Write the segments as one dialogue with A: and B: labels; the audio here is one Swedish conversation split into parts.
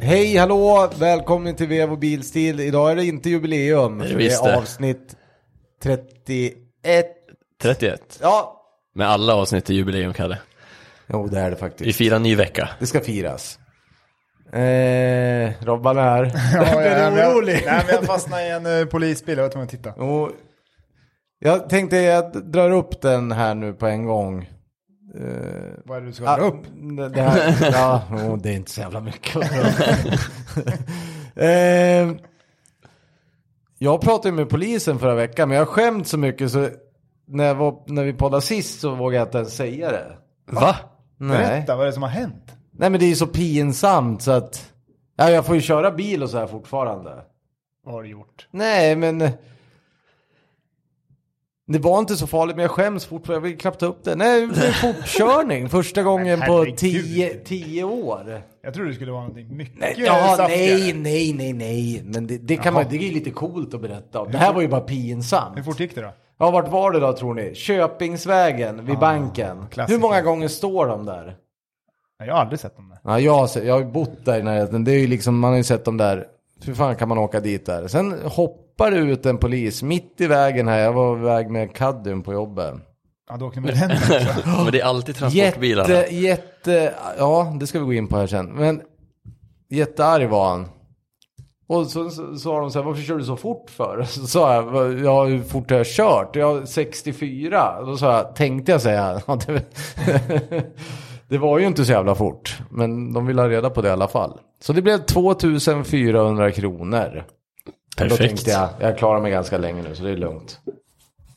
A: Hej, hallå, välkommen till Vev och Bilstil. Idag är det inte jubileum,
B: Nej,
A: för det
B: visst
A: är
B: det.
A: avsnitt 31.
B: 31.
A: Ja,
B: Med alla avsnitt i jubileum, Kalle.
A: jo det är det
B: Vi
A: faktiskt.
B: firar ny vecka.
A: Det ska firas. Eh, Robban är här.
C: Ja,
A: Blev
C: men
A: du
C: jag-
A: orolig?
C: Nej, men jag fastnade i en eh, polisbil. Jag var tvungen att titta.
A: Jo, jag tänkte jag drar upp den här nu på en gång. Eh,
C: Vad är det du ska dra upp?
A: Det, det, här, ja, jo, det är inte så jävla mycket. att dra upp. eh, jag pratade ju med polisen förra veckan, men jag har skämt så mycket så när, jag var, när vi poddade sist så vågade jag inte ens säga det.
B: Va?
A: Nej,
C: Berätta, vad är det som har hänt?
A: Nej men det är ju så pinsamt så att ja, jag får ju köra bil och så här fortfarande.
C: Vad har du gjort?
A: Nej men eh, det var inte så farligt men jag skäms fortfarande. Jag vill knappt ta upp det. Nej, det är fortkörning första gången på
C: herregud.
A: tio, tio år.
C: Jag trodde det skulle vara någonting mycket
A: Nej, ja,
C: saftigare.
A: nej, nej, nej, nej. Men det, det kan
C: Jaha.
A: man, det är ju lite coolt att berätta om. Det här var ju bara pinsamt.
C: Hur fort gick det då?
A: Ja, vart var det då tror ni? Köpingsvägen vid banken.
C: Ah, klassiker.
A: Hur många gånger står de där?
C: Nej, jag har aldrig sett dem där.
A: Ja, jag, har, se- jag har ju bott där i närheten. Det är ju liksom, man har ju sett dem där. Hur fan kan man åka dit där? Sen hoppar det ut en polis mitt i vägen här. Jag var iväg med Kaddium på jobbet.
C: Ja, då åkte med den. också.
B: Men det är alltid transportbilarna.
A: Jätte, jätte, ja det ska vi gå in på här sen. Men jättearg var han. Och så så- så sa de så här, varför kör du så fort för? Så sa jag, "Va- ja hur fort har jag kört? Jag har 64. Då sa jag, tänkte jag säga. Ja, det, det var ju inte så jävla fort. Men de ville ha reda på det i alla fall. Så det blev 2400 kronor. Då
B: Perfekt.
A: tänkte jag, jag klarar mig ganska länge nu så det är lugnt.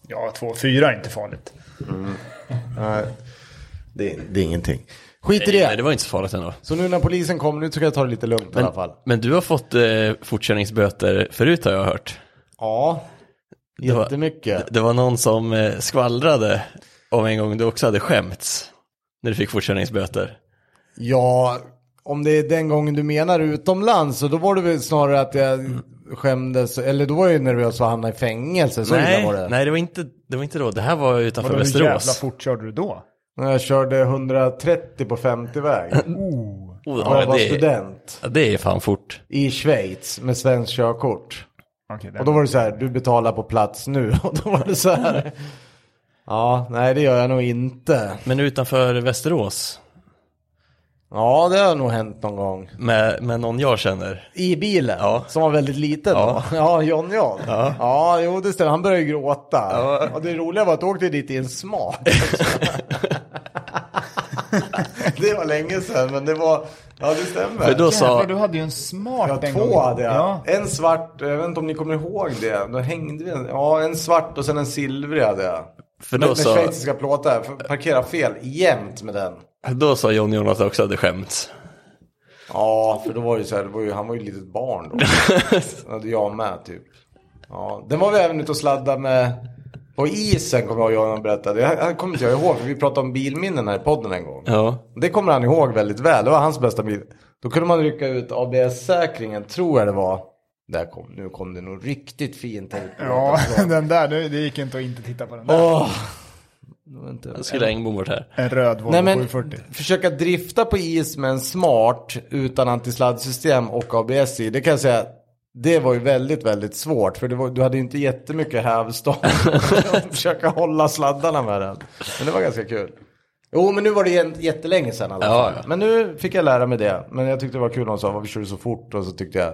C: Ja, två, fyra är inte farligt.
A: Det, är ingenting. Skit i
B: Nej, men
A: det.
B: det var inte så farligt ändå.
A: Så nu när polisen kommer, nu ska jag ta det lite lugnt i alla fall.
B: Men du har fått eh, fortkörningsböter förut har jag hört.
A: Ja,
B: Det var-
A: jättemycket.
B: Det var någon som eh, skvallrade om en gång du också hade skämts. När du fick fortkörningsböter.
A: Ja, om det är den gången du menar utomlands så då var det väl snarare att jag skämdes, eller då var jag ju nervös för att hamna i fängelse. Så illa
B: nej,
A: var det.
B: nej det, var inte, det var inte då. Det här var utanför
C: Vadå, hur jävla
B: Västerås.
C: fort körde du då?
A: När jag körde 130 på 50-väg.
C: Oh.
B: Oh,
A: När jag
B: ja,
A: var
B: det, är-
A: student
B: ja, det är fan fort.
A: i Schweiz med svenskt körkort.
C: Okej,
A: Och då var det så här, du betalar på plats nu. Och då var det så här. Ja, nej det gör jag nog inte.
B: Men utanför Västerås.
A: Ja, det har nog hänt någon gång.
B: Med, med någon jag känner.
A: I bilen?
B: Ja.
A: Som var väldigt liten
B: Ja.
A: då? Ja, John John. Ja. jo det stämmer. Han började gråta.
B: Ja.
A: Och det roliga var att du åkte dit i en smart. också. det var länge sedan, men det var... Ja, det stämmer.
B: För då
C: Jävlar,
B: sa,
C: du hade ju en smart
A: Ja,
C: den
A: två
C: gången.
A: hade jag.
C: Ja.
A: En svart, jag vet inte om ni kommer ihåg det. Då hängde vi en, ja, en svart och sen en silvrig hade jag.
B: För
A: med
B: då
A: med
B: sa-
A: schweiziska plåtar. För- Parkera fel jämt med den.
B: då sa John Jonas också hade skämts.
A: Ja, för då var det ju så här, det var ju, han var ju ett litet barn då. Ja, det är jag med typ. Ja, den var vi även ute och sladda med på isen kommer jag ihåg när han berättade. Jag, jag kommer inte jag ihåg, för vi pratade om bilminnen här i podden en gång.
B: Ja.
A: Det kommer han ihåg väldigt väl, det var hans bästa bil. Då kunde man rycka ut ABS-säkringen, tror jag det var. Där kom, nu kom det nog riktigt fint här.
C: Ja, den där. Det, det gick inte att inte titta på den där.
A: Åh! Det var inte-
B: Jag skulle Engblom varit här.
C: En röd Volvo
A: Nej men,
C: 740.
A: försöka drifta på is med en smart utan antisladdsystem och ABS i. Det kan jag säga, det var ju väldigt, väldigt svårt. För det var, du hade ju inte jättemycket hävstång. att försöka hålla sladdarna med den. Men det var ganska kul. Jo, men nu var det jä- jättelänge sedan i alla
B: Ja,
A: fall.
B: ja.
A: Men nu fick jag lära mig det. Men jag tyckte det var kul när hon sa, varför kör du så fort? Och så tyckte jag,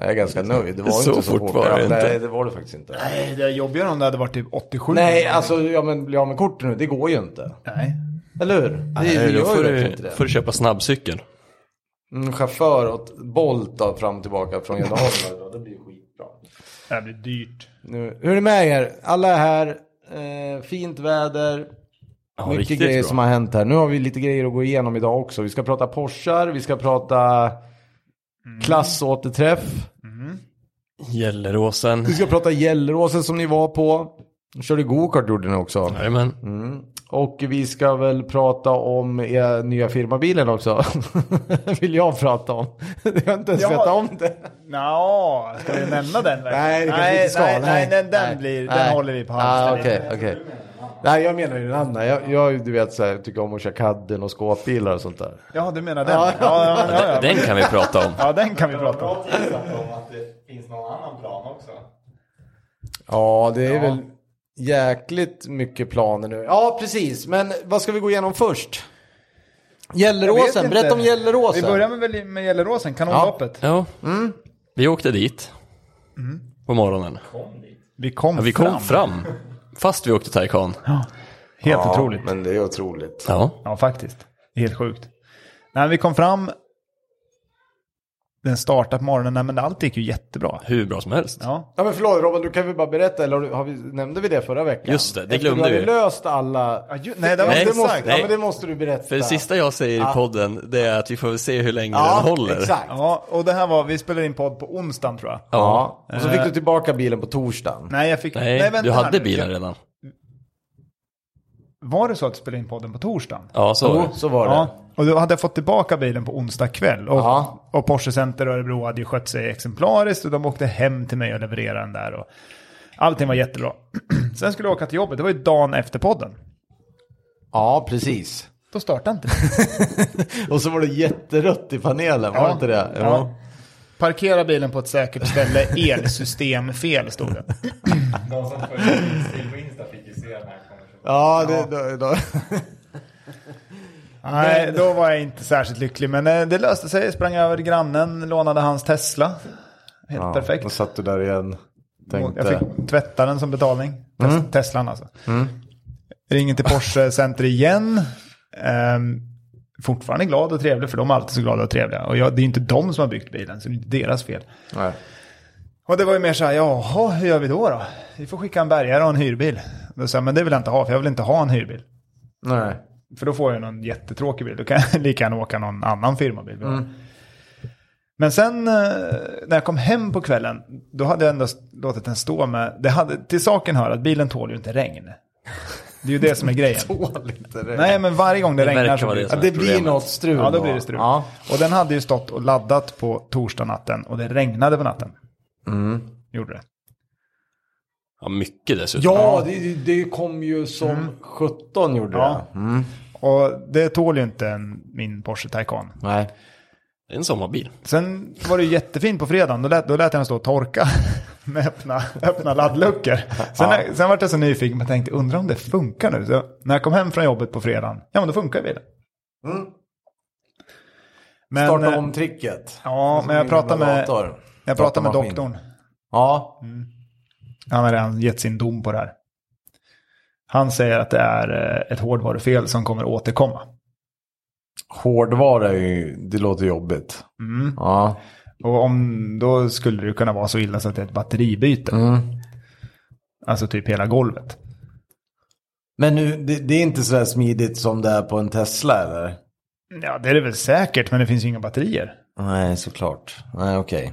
A: jag är ganska nöjd. Det var
B: Så
A: inte så
B: fort
A: fort.
B: var det
A: ja,
B: inte.
A: Nej, det var det faktiskt inte.
C: Nej, det är jobbigare om det hade varit typ 87.
A: Nej, alltså, ja men bli av med korten nu, det går ju inte.
C: Nej.
A: Eller hur? Det,
B: Nej,
A: vi
B: då
A: gör
B: får
A: ju verkligen
B: du,
A: inte det.
B: får du köpa snabbcykel.
A: Mm, chaufför åt Bolt då, fram och tillbaka från Gäddaholm. varje dag. det blir skitbra.
C: Det här blir dyrt.
A: Nu, hur är det med er? Alla är här. Eh, fint väder.
B: Ja,
A: Mycket
B: riktigt
A: grejer
B: bra.
A: som har hänt här. Nu har vi lite grejer att gå igenom idag också. Vi ska prata Porschar, vi ska prata Mm. klassåterträff.
B: Gelleråsen.
A: Vi ska prata Gelleråsen som ni var på. Körde gokart gjorde ni också.
B: Jajamän.
A: Mm. Och vi ska väl prata om era nya firmabilen också. Vill jag prata om. Jag har inte ens
C: Ja.
A: vetat om det.
C: Nå, ska vi nämna den verkligen?
A: Nej, det kanske vi inte ska.
C: Nej, nej,
A: Nej.
C: nej, den, den,
A: Nej.
C: blir,
A: Nej.
C: den håller vi på
A: Ah,
C: halster.
A: okej, okej. Nej, jag menar ju den andra. Jag, jag du vet, så här, tycker om att köra kadden och skåpbilar och sånt där.
C: Ja, du menar den? Ja, ja, ja, ja, ja.
B: Den kan vi prata om.
C: ja den kan vi prata om.
D: om att det finns någon annan plan också.
A: Ja, det är väl jäkligt mycket planer nu. Ja, precis. Men vad ska vi gå igenom först?
C: Jag vet
A: Gelleråsen,
C: inte.
A: berätta om Gelleråsen.
C: Vi börjar med, väl- med Gelleråsen, kanonloppet.
B: Ja, vi åkte dit på morgonen.
C: Vi kom,
B: Ja, vi kom fram, fast vi åkte Taycan.
C: Helt otroligt.
A: men det är otroligt.
B: Ja,
C: Ja, faktiskt. Det är Helt sjukt. Nej, men vi kom fram. Den startade på morgonen, nej, men allt gick ju jättebra.
B: hur bra som helst.
C: Ja,
A: Ja men förlåt Robin, du kan väl bara berätta, eller har du- har vi, nämnde vi det förra veckan?
B: Just det, det
A: Efter
B: glömde
A: du hade
B: vi.
A: löst alla...
C: Ja, ju- nej, det var
A: Ja,
B: inte
A: måste,
B: sagt.
A: Ja
B: Nej.
A: men det måste du berätta.
B: För det sista jag säger i podden, det är att vi får väl se hur länge
A: ja,
B: den håller.
A: exakt. Ja.
C: ja och det här var, vi spelade in podd på onsdagen tror jag.
A: Och så fick du tillbaka bilen på torsdagen.
C: Nej, jag fick...
B: Nej,
C: vänta
B: du
C: här
B: hade
C: nu.
B: bilen
C: Jag-
B: redan.
C: Var det så att du spelade in podden på torsdagen?
B: Ja, så var
A: Jo,
B: det.
A: så var det.
C: Ja, och då hade jag fått tillbaka bilen på onsdag kväll. Och,
A: Ja.
C: och Porsche Center Örebro hade ju skött sig exemplariskt och de åkte hem till mig och levererade den där. Och allting var jättebra. Sen skulle jag åka till jobbet, det var ju dagen efter podden.
A: Ja, precis.
C: Då startade inte
A: Och så var det jätterött i panelen, var det inte det? Jo.
C: Ja. Parkera bilen på ett säkert ställe, elsystemfel stod det.
D: De som följer min stil på Insta fick ju se den här konversationen.
A: Ja, det, Då, då.
C: Nej, då var jag inte särskilt lycklig. Men eh, det löste sig, sprang över grannen, lånade hans Tesla. Helt perfekt.
A: Då satt du där igen. Tänkte...
C: Jag fick tvätta den som betalning. Tes- Teslan alltså. Ringer till Porsche Center igen. Ehm, fortfarande glad och trevlig, för de är alltid så glada och trevliga. Och jag, det är ju inte de som har byggt bilen, så det är inte deras fel.
A: Nej.
C: Och det var ju mer så här, jaha, hur gör vi då då? Vi får skicka en bärgare och en hyrbil. Då sa jag, men det vill jag inte ha, för jag vill inte ha en hyrbil.
A: Nej.
C: För då får jag någon jättetråkig bil. Då kan jag lika gärna åka någon annan firmabil. vi har.
B: Mm.
C: Men sen eh, när jag kom hem på kvällen, då hade jag ändå s- låtit den stå med... Det hade, till saken hör att bilen tål ju inte regn. Det är ju det som är grejen.
A: Dåligt är det.
C: Nej, men varje gång det,
B: Det
C: regnar
B: verkar
C: så
B: vara
C: blir
B: det
A: Ja,
B: som-
A: det blir
B: Problemet.
A: något strul
C: Ja, då
A: då
C: blir det strul.
A: Ja.
C: Och den hade ju stått och laddat på torsdag natten och det regnade på natten.
B: Mm.
C: Gjorde det.
B: Ja, mycket dessutom.
A: Ja, det, det kom ju som 17 gjorde
C: Mm. Ja.
A: det. Mm.
C: Och det tål ju inte en, min Porsche Taycan.
A: Nej.
B: Det är en sommarbil.
C: Sen var det ju jättefint på fredagen. Då lät, då lät jag den stå och torka med öppna, öppna laddluckor. Sen, sen var jag så nyfiken men tänkte undrar om det funkar nu. Så när jag kom hem från jobbet på fredagen, ja men då funkar bilen. Men,
A: Mm. Starta
C: eh,
A: om tricket.
C: Ja, men jag pratade med,
A: Dator.
C: jag pratade med
A: datamaskin.
C: doktorn. Mm.
A: Ja,
C: Han har redan gett sin dom på det här. Han säger att det är eh, ett hårdvarufel som kommer återkomma.
A: hårdvara är ju, det låter jobbigt.
C: Mm.
A: Ja.
C: Och om, då skulle det kunna vara så illa så att det är ett batteribyte.
A: Mm.
C: Alltså typ hela golvet.
A: Men nu, det, det är inte så här smidigt som det är på en Tesla eller?
C: Ja, det är det väl säkert, men det finns ju inga batterier.
A: Nej, såklart. Nej, okej.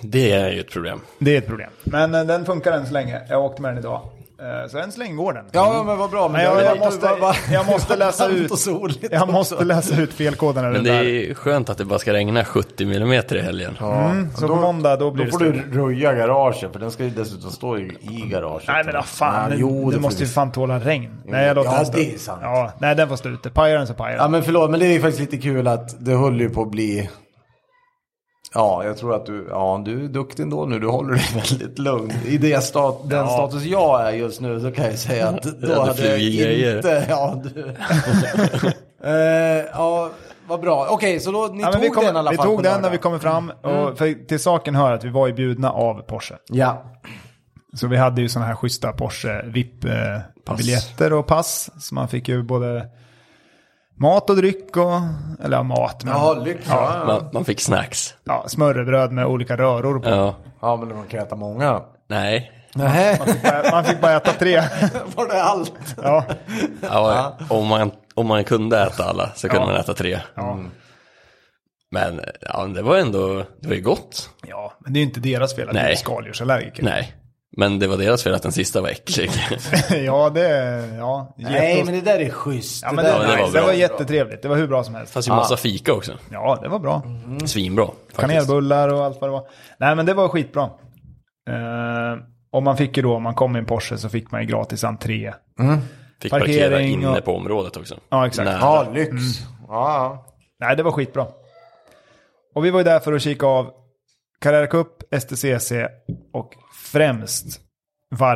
B: Det är ju ett problem.
C: Det är ett problem. Men eh, den funkar än så länge. Jag åkte med den idag. Eh, Så än så länge går den.
A: Ja, men vad bra. Men
C: Nej, jag-
A: det-
C: jag
A: det var-
C: måste-
A: var-
C: jag måste
A: det var
C: läsa
A: varmt
C: ut.
A: och soligt.
C: Jag måste läsa ut felkoden.
B: Men det är skönt att det bara ska regna 70 millimeter i helgen.
C: mm, så på måndag då blir
A: Då
C: det
A: får du
C: strul.
A: röja garaget, för den ska ju dessutom stå i, i garaget.
C: Nej men vad fan,
A: Ja,
C: det-
A: jo,
C: det
A: det
C: måste
A: måste
C: ju fan tåla regn. Nej, jag låter
A: Ja,
C: den stå.
A: det är sant.
C: Ja, nej, den får stå ute. Pajar den så pajar
A: Ja,
C: den.
A: men förlåt, men det är ju faktiskt lite kul att det höll ju på att bli... Ja, jag tror att du, ja, du är duktig ändå nu. Du håller dig väldigt lugn. I det stat, den status jag är just nu så kan jag ju säga att då
B: hade
A: hade jag
B: flugit grejer.
A: inte... Ja, du. eh, ja, vad bra. Okej, så då, ni
C: Ja,
A: tog
C: men vi kom-
A: den i alla
C: vi
A: fall på
C: tog den när
A: lördag. Mm.
C: vi kommer fram. Och för, till saken hör att vi var ju bjudna av Porsche.
A: Ja,
C: Så vi hade ju sådana här schyssta Porsche
B: Pass.
C: VIP-biljetter och pass. Så man fick ju både mat och dryck och, eller ja, mat, men,
A: jaha, lyx. Ja.
B: Man, man fick snacks.
C: ja, smörrebröd med olika röror på.
B: Ja.
A: ja, men de kan äta många.
B: Nej.
A: Nej,
C: Man fick bara äta tre.
A: var det allt?
C: Ja.
B: Ja, om, man, om man kunde äta alla så kunde man äta tre.
C: Ja.
B: Men ja, det var ändå, det var ju gott.
C: ja, men det är ju inte deras fel att vi
B: Nej.
C: är skaldjursallergiker.
B: Nej. Men det var deras fel att den sista var äcklig.
C: ja, det ja,
A: Nej,
C: getost.
A: men det där är schysst.
C: ja, men det,
A: där
B: det
C: var
A: är
B: var
C: nice.
A: nice.
B: bra.
C: det var jättetrevligt. Det var hur bra som helst.
B: Fanns ju massa fika också.
C: Ja, det var bra.
A: Mm,
B: Svinbra. Faktiskt.
C: Kanelbullar och allt vad det var. Nej, men det var skitbra. Eh, och man fick ju då, om man kom i en Porsche så fick man ju gratis entré.
B: Fick
C: Parkering
B: parkera inne
C: och-
B: på området också.
C: Ja, exakt.
B: Nära.
A: Ja, lyx.
C: Mm.
A: Ja,
C: Nej, det var skitbra. Och vi var ju där för att kika av Carrera Cup, STCC och främst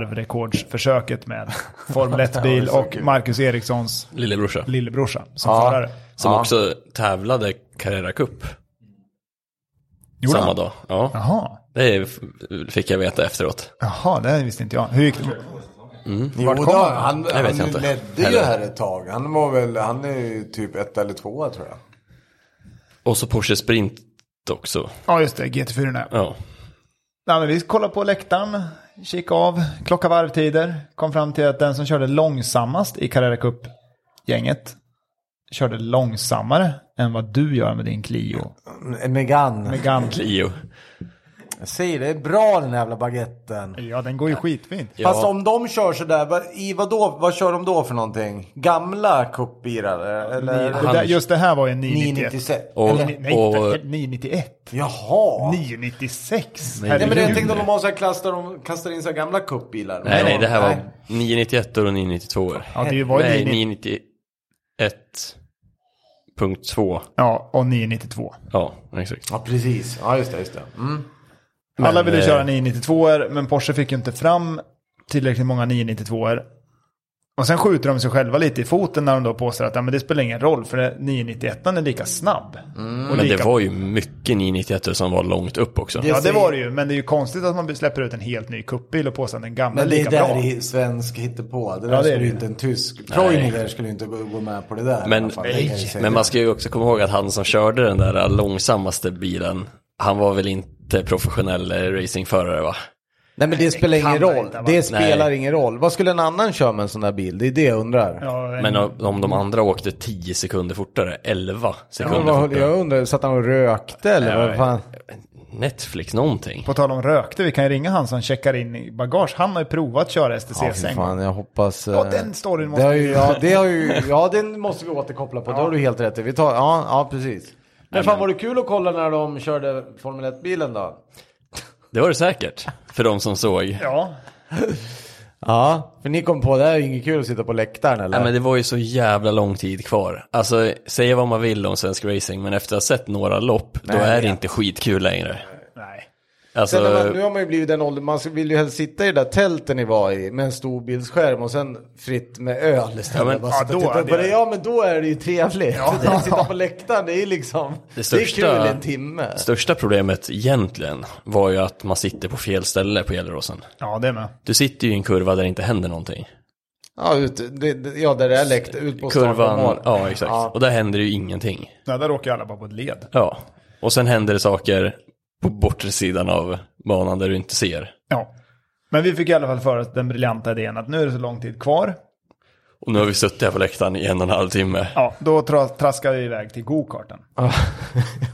C: varvrekordsförsöket med Formel 1-bil och Marcus Erikssons
B: Lillebrorsa.
C: lillebrorsa som
A: Ja.
C: förare.
B: Som
A: Ja.
B: också tävlade Carrera Cup
C: Gjorde
B: samma
C: han?
B: dag. Ja,
C: Jaha.
B: det är- f- fick jag veta efteråt.
C: Jaha, det här visste inte jag. Hur gick det?
A: Jo,
C: kom
A: då,
C: han?
A: han,
B: Jag vet
A: han
B: inte.
A: ledde ju
B: Heller.
A: här ett tag. Han var väl, han är ju typ ett eller tvåa tror jag.
B: Och så Porsche Sprint också.
C: Ja, just det. GT4. -orna.
B: Ja.
C: Nej, men vi kollade på läktaren, kikade av, klocka varvtider. Kom fram till att den som körde långsammast i Carrera Cup-gänget körde långsammare än vad du gör med din Clio.
A: Megan.
C: Megane.
B: Clio.
A: Jag säger det, det är bra den här jävla baguetten.
C: Ja, den går ju skitfint.
B: Ja.
A: Fast om de kör sådär, vad, i vad, då, vad kör de då för någonting? Gamla cupbilar? eh, Eller?
C: Det där, just det här var ju 991.
A: 996?
B: Och,
A: Eller,
C: Nej,
B: och,
C: inte 991.
A: jaha!
C: 996.
B: Nej,
A: Nej men jag
C: Herregud.
A: tänkte om de har så här klass där de kastar in så här gamla cupbilar.
B: nej, nej, det här
A: Nej.
B: var 991 och 992.
C: Ja, det var ju
B: Nej,
C: 990
B: 991.2.
C: Ja, och 992.
B: Ja, exakt.
A: Ja precis, ja just det, just det. Mm.
C: Alla ville
B: eh,
C: köra 992 men Porsche fick ju inte fram tillräckligt många 992 Och sen skjuter de sig själva lite i foten när de då påstår att ja, men det spelar ingen roll för det- 991 är lika snabb. och
B: Mm. Men
C: lika...
B: det var ju mycket 991 som var långt upp också.
A: Det-
C: Ja, det var det ju. Men det är ju konstigt att man släpper ut en helt ny kuppbil och påstår att den gamla är
A: Men det
C: lika
A: är där
C: bra.
A: i svensk hittepå. Det där
C: Ja, det är
A: skulle
C: det.
A: ju inte en tysk. Preuniger skulle ju inte gå gå med på det där. i
B: Men,
A: alla fall, det kan jag ju säga.
B: men man ska ju också komma ihåg att han som körde den där långsammaste bilen, han var väl inte professionell eh, racingförare va?
A: Nej men det spelar ingen
C: kan man
A: roll.
C: inte
A: det
C: vara.
A: spelar
B: Nej.
A: ingen roll. Vad skulle en annan köra med en sån där bil? Det är det jag undrar.
C: Ja, en-
B: Men om om de andra åkte 10 sekunder fortare, 11
A: Men
B: sekunder
A: vad,
B: fortare.
A: jag undrar, satt han och rökte eller vad fan?
B: Netflix någonting.
C: På tal om rökte, vi kan ju ringa han som checkar in i bagage. Han har ju provat att köra
A: Ja,
C: STCC
A: fy
C: en gång.
A: fan, jag hoppas...
C: Ja,
A: eh,
C: den storyn
A: det
C: måste
A: har
C: vi...
A: ju, ja, det har ju, ja, den måste vi återkoppla på. Det har du helt rätt i. Vi tar, ja, ja, precis. Men fan var det kul att kolla när de körde Formel 1-bilen då?
B: Det var det säkert, för de som såg.
C: Ja,
A: Ja, för ni kom på det här är inget kul att sitta på läktaren eller?
B: Nej, men det var ju så jävla lång tid kvar. Alltså, säga vad man vill om svensk racing, men efter att ha sett några lopp, då är det inte skitkul längre.
C: nej.
B: Alltså,
A: Sen när man, nu har man ju blivit den åldern, man vill ju helst sitta i det där tälten ni var i med en stor bildskärm och sen fritt med öl istället.
B: Ja, men-
A: Bara sitta
C: ja, då
A: och titta
C: är det-
A: på det. ja men då är det ju trevligt. Det att sitta på läktaren det är ju liksom, det,
B: största-
A: är kul en timme.
B: största problemet egentligen var ju att man sitter på fel ställe på Gelleråsen.
C: Ja, det med.
B: Du sitter ju i en kurva där det inte händer någonting.
A: Ja, ut, det, det, ja där det är läkt, ut på start och
B: Kurvan,
A: mål.
B: ja exakt. Och där händer ju ingenting.
C: Nej, där åker ju alla bara på ett led.
B: Ja, och sen händer det saker på bortre sidan av banan där du inte ser.
C: Ja. Men vi fick i alla fall för oss den briljanta idén att nu är det så lång tid kvar.
B: Och nu har vi suttit här på läktaren i en och en halv timme.
C: Ja, då tra- traskar vi iväg till gokarten.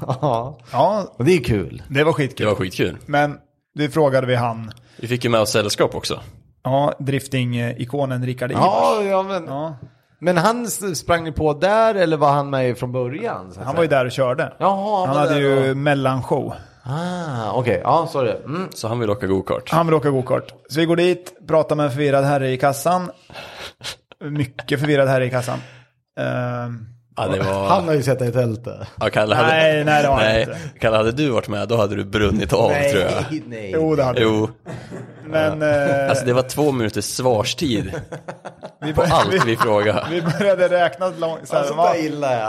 A: ja,
C: Ja,
A: och det är kul.
C: det var
B: Det
C: skitkul.
B: var skitkul.
C: Men det frågade vi han,
B: Vi fick ju med oss sällskap också.
C: ja, drifting-ikonen Rickard Ivars.
A: Ja, ja, men,
C: Ja,
A: men han s- sprang ni på där eller var han med från början? Så att
C: han
A: säga?
C: var ju där och körde.
A: Jaha, han
C: han
A: var där
C: hade ju
A: då.
C: mellanshow.
A: Ah, okej, ja sorry. Mm.
B: Så han vill åka gokart.
C: Han vill åka gokart. Så vi går dit, pratar med en förvirrad herre i kassan. Mycket förvirrad herre i kassan. Ehm,
B: Ja, det
A: Han
B: var...
A: har ju sett dig i tältet.
B: Ja, Kalle hade...
C: nej, nej det var han inte.
B: Nej, Kalle hade du varit med då hade du brunnit av tror jag.
A: nej.
C: Jo, det hade han.
B: Jo,
C: Men eh,
B: alltså det var två minuters svarstid
C: vi,
B: på
C: började,
B: allt vi frågade.
C: vi började räkna långt. Så här,
A: Sånt
C: va?
A: där Alltså, gillar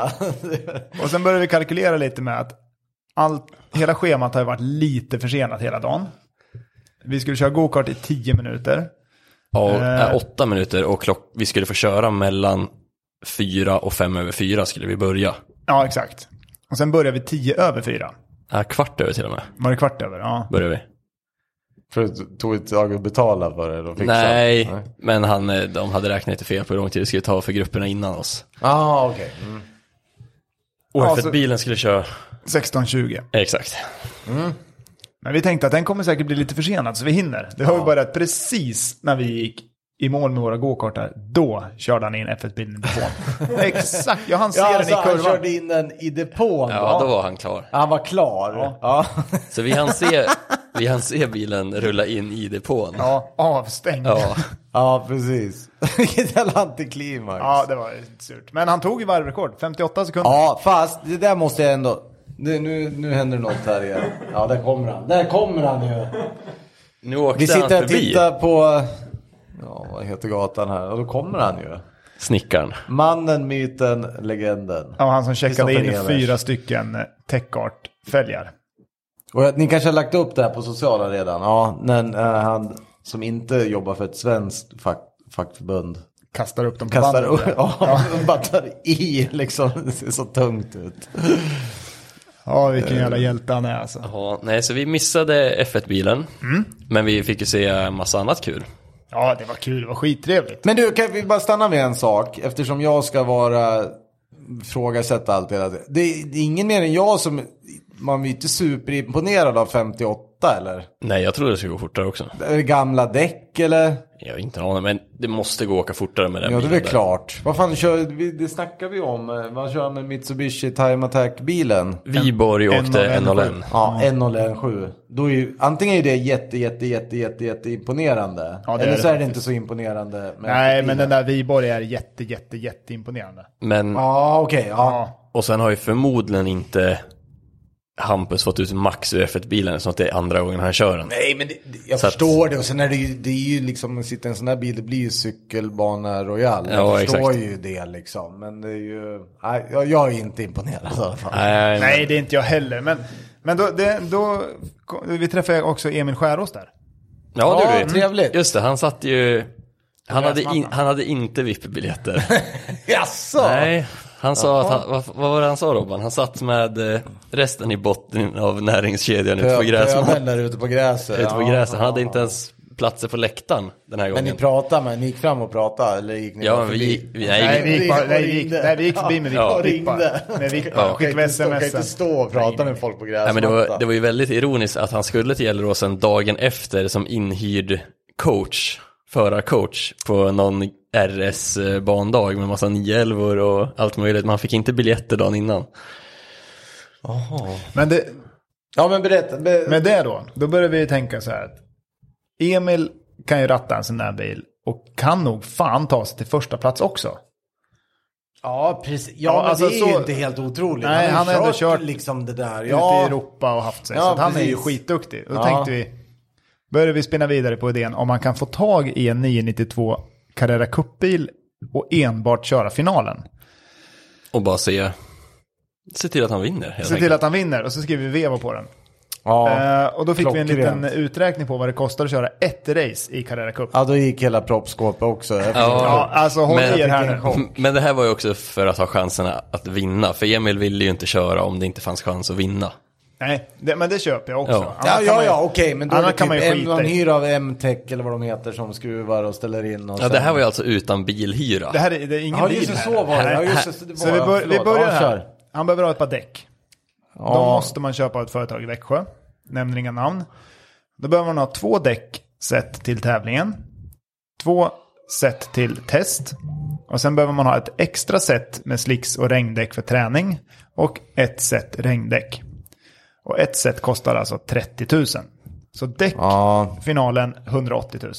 A: jag.
C: Och sen började vi kalkylera lite med att allt, hela schemat har ju varit lite försenat hela dagen. Vi skulle köra gokart i 10 minuter.
B: Ja, eh, åtta minuter och klock... vi skulle få köra mellan fyra och fem över fyra skulle vi börja.
C: Ja, exakt. Och sen började vi 10 över 4.
B: Ja, Eh, kvart över till och med
C: Var det kvart över? Ja.
B: började vi.
A: För det tog ett tag att betala för det och fixa.
B: Nej, men han, eh, de hade räknat lite fel på hur lång tid det skulle ta för grupperna innan oss.
A: Ah, okej. Mm.
B: Och
C: Ja,
B: för
C: så-
B: att bilen skulle köra...
C: 16.20.
B: Exakt.
C: Men vi tänkte att den kommer säkert bli lite försenad så vi hinner. Det har ju börjat precis när vi gick i mål med våra gokartar. Då körde han in F1-bilen i depån. Exakt, jag hann se
A: Ja,
C: den i
A: alltså, han
C: kurvan.
A: körde in den i depån
B: Ja, då
A: då.
B: var han klar.
A: Han var klar. Ja.
B: Så vi hann se, Vi hann se bilen rulla in i depån.
C: Ja, avstängd.
B: Ja.
C: Ja.
A: Ja, precis. Vilket jävla antiklimax.
C: det var surt. Men han tog ju varvrekord, 58 sekunder.
A: Ja, fast det där måste jag ändå... Nu, nu, nu händer det något här igen. Ja, där kommer han. Där kommer han ju.
B: Nu åkte
A: Vi
B: han
A: sitter och
B: förbi
A: tittar på... Ja, vad heter gatan här? Och då kommer han ju.
B: snickaren.
A: Mannen, myten, legenden.
C: Ja, han som checkade
A: Kristoffer
C: in
A: Ehlers.
C: fyra stycken Techart-fälgar.
A: Och jag- ni kanske har lagt upp det här på sociala redan. Ja, men eh, han som inte jobbar för ett svenskt fack, fackförbund.
C: Kastar upp dem på
A: Kastar
C: bandet.
A: upp, ja, bara tar i liksom. Det ser så tungt ut.
C: Ja, vilken jävla hjälte han är alltså.
B: Ja, nej, så vi missade F1-bilen.
A: Mm.
B: Men vi fick ju se en massa annat kul.
C: Ja, det var kul, det var skittrevligt.
A: Men du, kan vi bara stanna vid en sak? Eftersom jag ska vara frågasätta allt hela tiden. Det är, det är ingen mer än jag som... Man blir inte superimponerad av 58 eller?
B: Nej, jag trodde det skulle gå fortare också.
A: Är det Gamla däck eller?
B: Jag har inte en aning, men det måste gå att åka fortare med den
A: Ja, det är
B: bilen
A: väl
B: där.
A: klart. Vad fan kör vi? Det snackar vi om. eh, Vad kör med Mitsubishi Time Attack-bilen?
B: Viborg åkte
C: 1.01.
B: 1.01.
A: Ja,
C: Mm.
A: 1.01,7. Då är ju, antingen är det jätte, jätte, jätte, jätte, jätte imponerande.
C: Ja, det
A: eller
C: är det
A: så är det
C: faktiskt.
A: inte så imponerande. Med
C: Nej,
A: bilen.
C: men den där Viborg är jätte, jätte, jätte imponerande.
B: Men,
A: Ja, okej. ja.
C: Ja,
B: och sen har ju förmodligen inte Hampus fått ut max ur F1-bilen, så att det är andra gången han kör den.
A: Nej, men det, det- jag
B: Så att-
A: förstår det. Och sen är det ju, det är ju liksom, sitta i en sån här bil, det blir ju cykelbana royal.
B: Ja,
A: jag förstår
B: exakt.
A: ju det liksom. Men det är ju, nej, jag, jag är inte imponerad i alla fall.
B: Nej, men-
C: nej, det är inte jag heller. Men, men då, det, då, vi träffade också Emil Skärås där.
B: Ja, det
A: Ja,
B: gjorde vi.
A: trevligt.
B: Just det, han satt ju... Han hade, in,
C: Gräsmattan.
B: han hade inte VIP-biljetter.
A: Jaså?
B: Nej, han sa att han, vad, vad var det han sa Robban? Han satt med eh, resten i botten av näringskedjan ute på gräsmattan.
A: Pöbeln där ute på gräset.
B: Ute på
A: Ja,
B: gräset. Han
A: ja,
B: hade
A: ja.
B: inte ens platser på läktaren den här
A: Men ni
B: gången.
A: pratade med, ni gick fram och pratade eller gick ni
B: Ja,
A: bara
B: men vi,
A: förbi?
B: gick- vi,
C: Nej,
B: nej,
C: vi gick, bara, nej, vi gick,
A: ringde.
C: nej, vi gick förbi, men vi
B: Ja,
C: gick bara.
A: ringde.
C: Men vi gick
B: Ja.
C: bara,
A: Kan
C: skickade
A: inte, stå, kan inte
C: sms.
A: stå och prata med folk på
B: nej,
A: gräsmattan.
B: men det var, det var ju väldigt ironiskt att han skulle till Gelleråsen dagen efter som inhyrd coach, förarcoach på någon RS-bandag med massa 911 och allt möjligt. Men han fick inte biljetter dagen innan.
C: Men det,
A: Ja men berätta. Be...
C: med det då, då börjar vi ju tänka så här att Emil kan ju ratta en sån där bil och kan nog fan ta sig till första plats också.
A: Ja precis. Ja,
C: Ja,
A: men
C: alltså,
A: det är ju
C: så-
A: inte helt otroligt.
C: Nej,
A: han har ju
C: han har
A: kört,
C: ändå kört
A: liksom det där.
C: Ute i
A: Ja.
C: Europa och haft sig.
A: Ja,
C: så att han är ju
A: precis.
C: skitduktig. Då
A: Ja.
C: tänkte vi, började vi spinna vidare på idén om man kan få tag i en 992 Carrera Cup-bil och enbart köra finalen.
B: Och bara se, se till att han vinner helt
C: Se
B: enkelt.
C: till att han vinner och så skriver vi veva på den.
A: Ja.
C: Eh, och då fick vi en
A: klockrent.
C: liten uträkning på vad det kostar att köra ett race i Carrera Cup.
A: ja då gick hela proppskåpet också.
C: Ja, alltså håll
B: Men-
C: i er här nu.
B: Men det här var ju också för att ha chansen att vinna. För Emil ville ju inte köra om det inte fanns chans att vinna.
C: Nej, det, men det köper jag också.
B: Ja.
C: Annars
A: Ja,
C: kan
A: ja,
C: man ju-
A: ja, okej, men då är
C: annars
A: det
C: kan man ju
A: typ en,
C: skita
A: man
C: i.
A: hyr av M-tech eller vad de heter som skruvar och ställer in och
B: Ja, det
A: sen-
B: här var ju alltså utan bilhyra.
C: Det här är, det är ingen
A: Ja,
C: bil
A: just det,
C: här.
A: så var det. Ja, just det, det
C: Så
A: var
C: vi,
A: jag.
C: bör, vi
A: Förlåt.
C: börjar
A: Ja,
C: här.
A: kör.
C: Han behöver ha ett par däck. Då
A: Ja.
C: måste man köpa av ett företag i Växjö. Nämner inga namn. Då behöver man ha två däck sett till tävlingen. Två set till test. Och sen behöver man ha ett extra set med slicks och regndäck för träning. Och ett set regndäck. Och ett set kostar alltså 30 000. Så däck,
A: Ja,
C: finalen 180 000.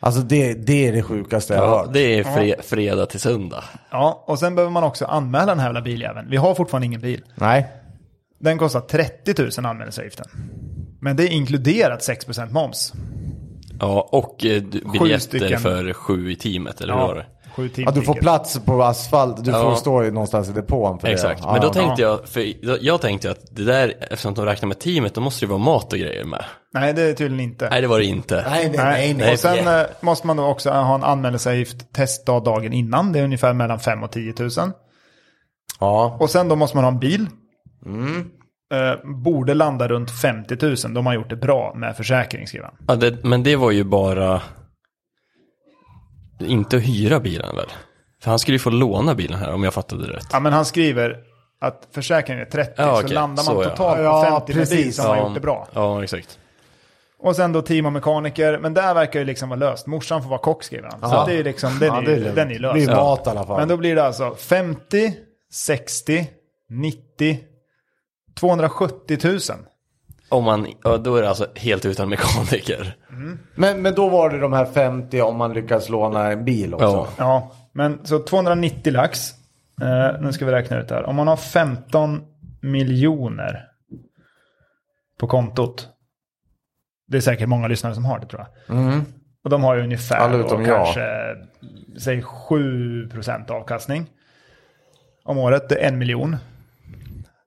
A: alltså det, det är det sjukaste jag har
B: ja,
A: hört.
B: det är fre- fredag till söndag.
C: Ja, och sen behöver man också anmäla den här jävla biljäveln. Vi har fortfarande ingen bil.
A: Nej.
C: Den kostar 30 000 anmälningsavgiften. Men det är inkluderat 6% moms.
B: Ja, och eh, du- biljetter
C: stycken.
B: för sju i teamet, eller hur var det?
C: Sju timmar.
A: Ja, du får plats på asfalt, du
B: Ja.
A: får stå i- någonstans i depån för
B: Exakt,
A: det. Ja,
B: men då
A: ja.
B: tänkte jag, för då- jag tänkte ju att det där, eftersom de räknar med teamet, då måste det ju vara mat och grejer med.
C: Nej, det är tydligen inte.
B: Nej, det var det inte.
A: Nej, nej, nej. nej.
C: Och sen eh, måste man då också ha en anmälningsavgift testdag dagen innan. Det är ungefär mellan 5 och 10 000.
A: Ja.
C: Och sen då måste man ha en bil.
B: Mm.
C: Eh, borde landa runt 50 000. De har gjort det bra med försäkring, skriver han.
B: Ja, det, men det var ju bara, inte att hyra bilen väl? För han skulle ju få låna bilen här, om jag fattade det rätt.
C: Ja, men han skriver att försäkringen är 30,
B: Ja,
C: så
B: okej.
C: landar man
B: Så, ja.
C: totalt
A: Ja,
C: på 50 med bil
A: precis.
C: som har gjort det bra.
B: Ja, exakt.
C: Och sen då team och mekaniker, men där verkar ju liksom vara löst. Morsan får vara kock skriver han. Så
A: Ja.
C: att det är ju liksom, den är,
A: det är
C: ju-
A: lugnt.
C: den är ju
A: Det blir
C: löst.
A: mat i alla fall.
C: Men då blir det alltså 50, 60, 90, 270 000.
B: Om man, ja, då är det alltså helt utan mekaniker.
A: Men, men då var det de här 50 om man lyckas låna en bil också.
B: Ja.
C: Ja, men så 290 lax. Eh, nu ska vi räkna ut det här. Om man har 15 miljoner på kontot. Det är säkert många lyssnare som har det tror jag. Och de har ju ungefär
A: Alla
C: då,
A: utom jag.
C: kanske säg 7 avkastning om året. Det är en miljon.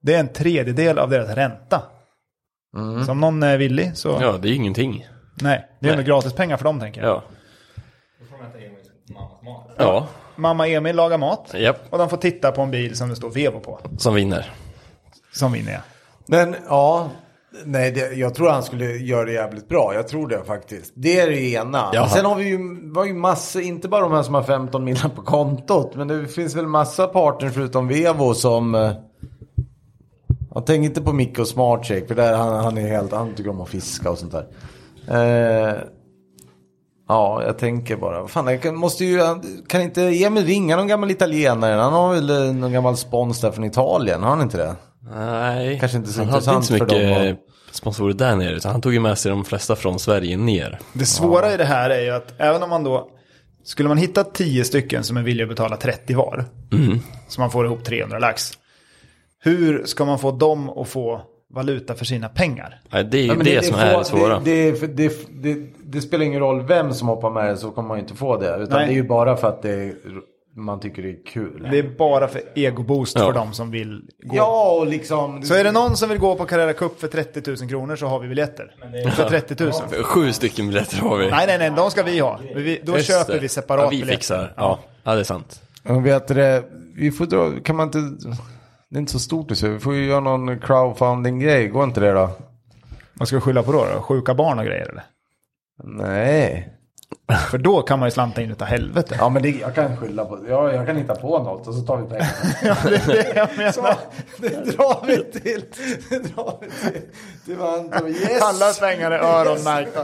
C: Det är en tredjedel av deras ränta. Så om någon är villig så
B: Ja, det är ju ingenting.
C: nej, det
B: Nej.
C: är ändå gratis pengar för dem tänker jag.
B: Ja.
D: Då får de äta Emils mammas mat.
B: Ja,
C: Mamma Emil lagar mat.
B: japp.
C: Och de får titta på en bil som det står Vevo på.
B: Som vinner.
C: Som vinner jag.
A: Men ja, nej, det, jag tror han skulle göra det jävligt bra. Jag tror det faktiskt. Det är det ena.
B: Jaha.
A: Sen har vi ju, var ju massa, inte bara de här som har 15 miljoner på kontot. Men det finns väl massa partners förutom Vevo som... eh, Jag tänker inte på Micke och Smartshake för där han, han är helt, han tycker om att fiska och sånt där. Eh, ja, jag tänker bara. Fan, jag kan, måste ju, kan inte Emil ringa någon gammal italienare? Han har väl eh, någon gammal spons där från Italien? Har han inte det?
B: Nej,
A: Kanske inte så
B: han hade inte
A: intressant
B: så
A: för dem
B: mycket sponsorer där nere. Utan han tog ju med sig de flesta från Sverige ner.
C: Det svåra i det här är ju att även om man då... Skulle man hitta 10 stycken som är villiga att betala 30 var.
B: Mm.
C: Så man får ihop 300 lax. Hur ska man få dem att få valuta för sina pengar?
B: Nej, det är ju
A: Ja, men
B: det, som är det
A: få-
B: svåra.
A: Det, det, det, det, det spelar ingen roll vem som hoppar med det så kommer man ju inte få det. Utan
C: Nej.
A: det är ju bara för att det, man tycker det är kul.
C: Det är bara för egoboost
B: Ja.
C: för dem som vill gå.
A: Ja, och liksom...
C: Så är det någon som vill gå på Carrera Cup för 30 000 kronor så har vi biljetter. För 30 000.
B: Sju stycken biljetter har vi.
C: Nej, nej, nej, de ska vi ha. Men Vi, då
B: Just
C: köper
B: det.
C: vi separat
B: ja, vi fixar. Ja. ja, det är sant.
A: Jag vet det, vi får dra, kan man inte... Det är inte så stort i Sverige. Vi får ju göra någon crowdfunding-grej. Går inte det då?
C: Vad ska vi skylla på då, då? Sjuka barn och grejer eller?
A: Nej.
C: För då kan man ju slanta in utav helvete.
A: Ja men det, jag kan skylla på ja, Jag kan hitta på något och så tar vi pengarna.
C: jag menar.
A: det drar vi till. Det drar vi till. Det var inte...
C: Alla pengar är öronmärkta.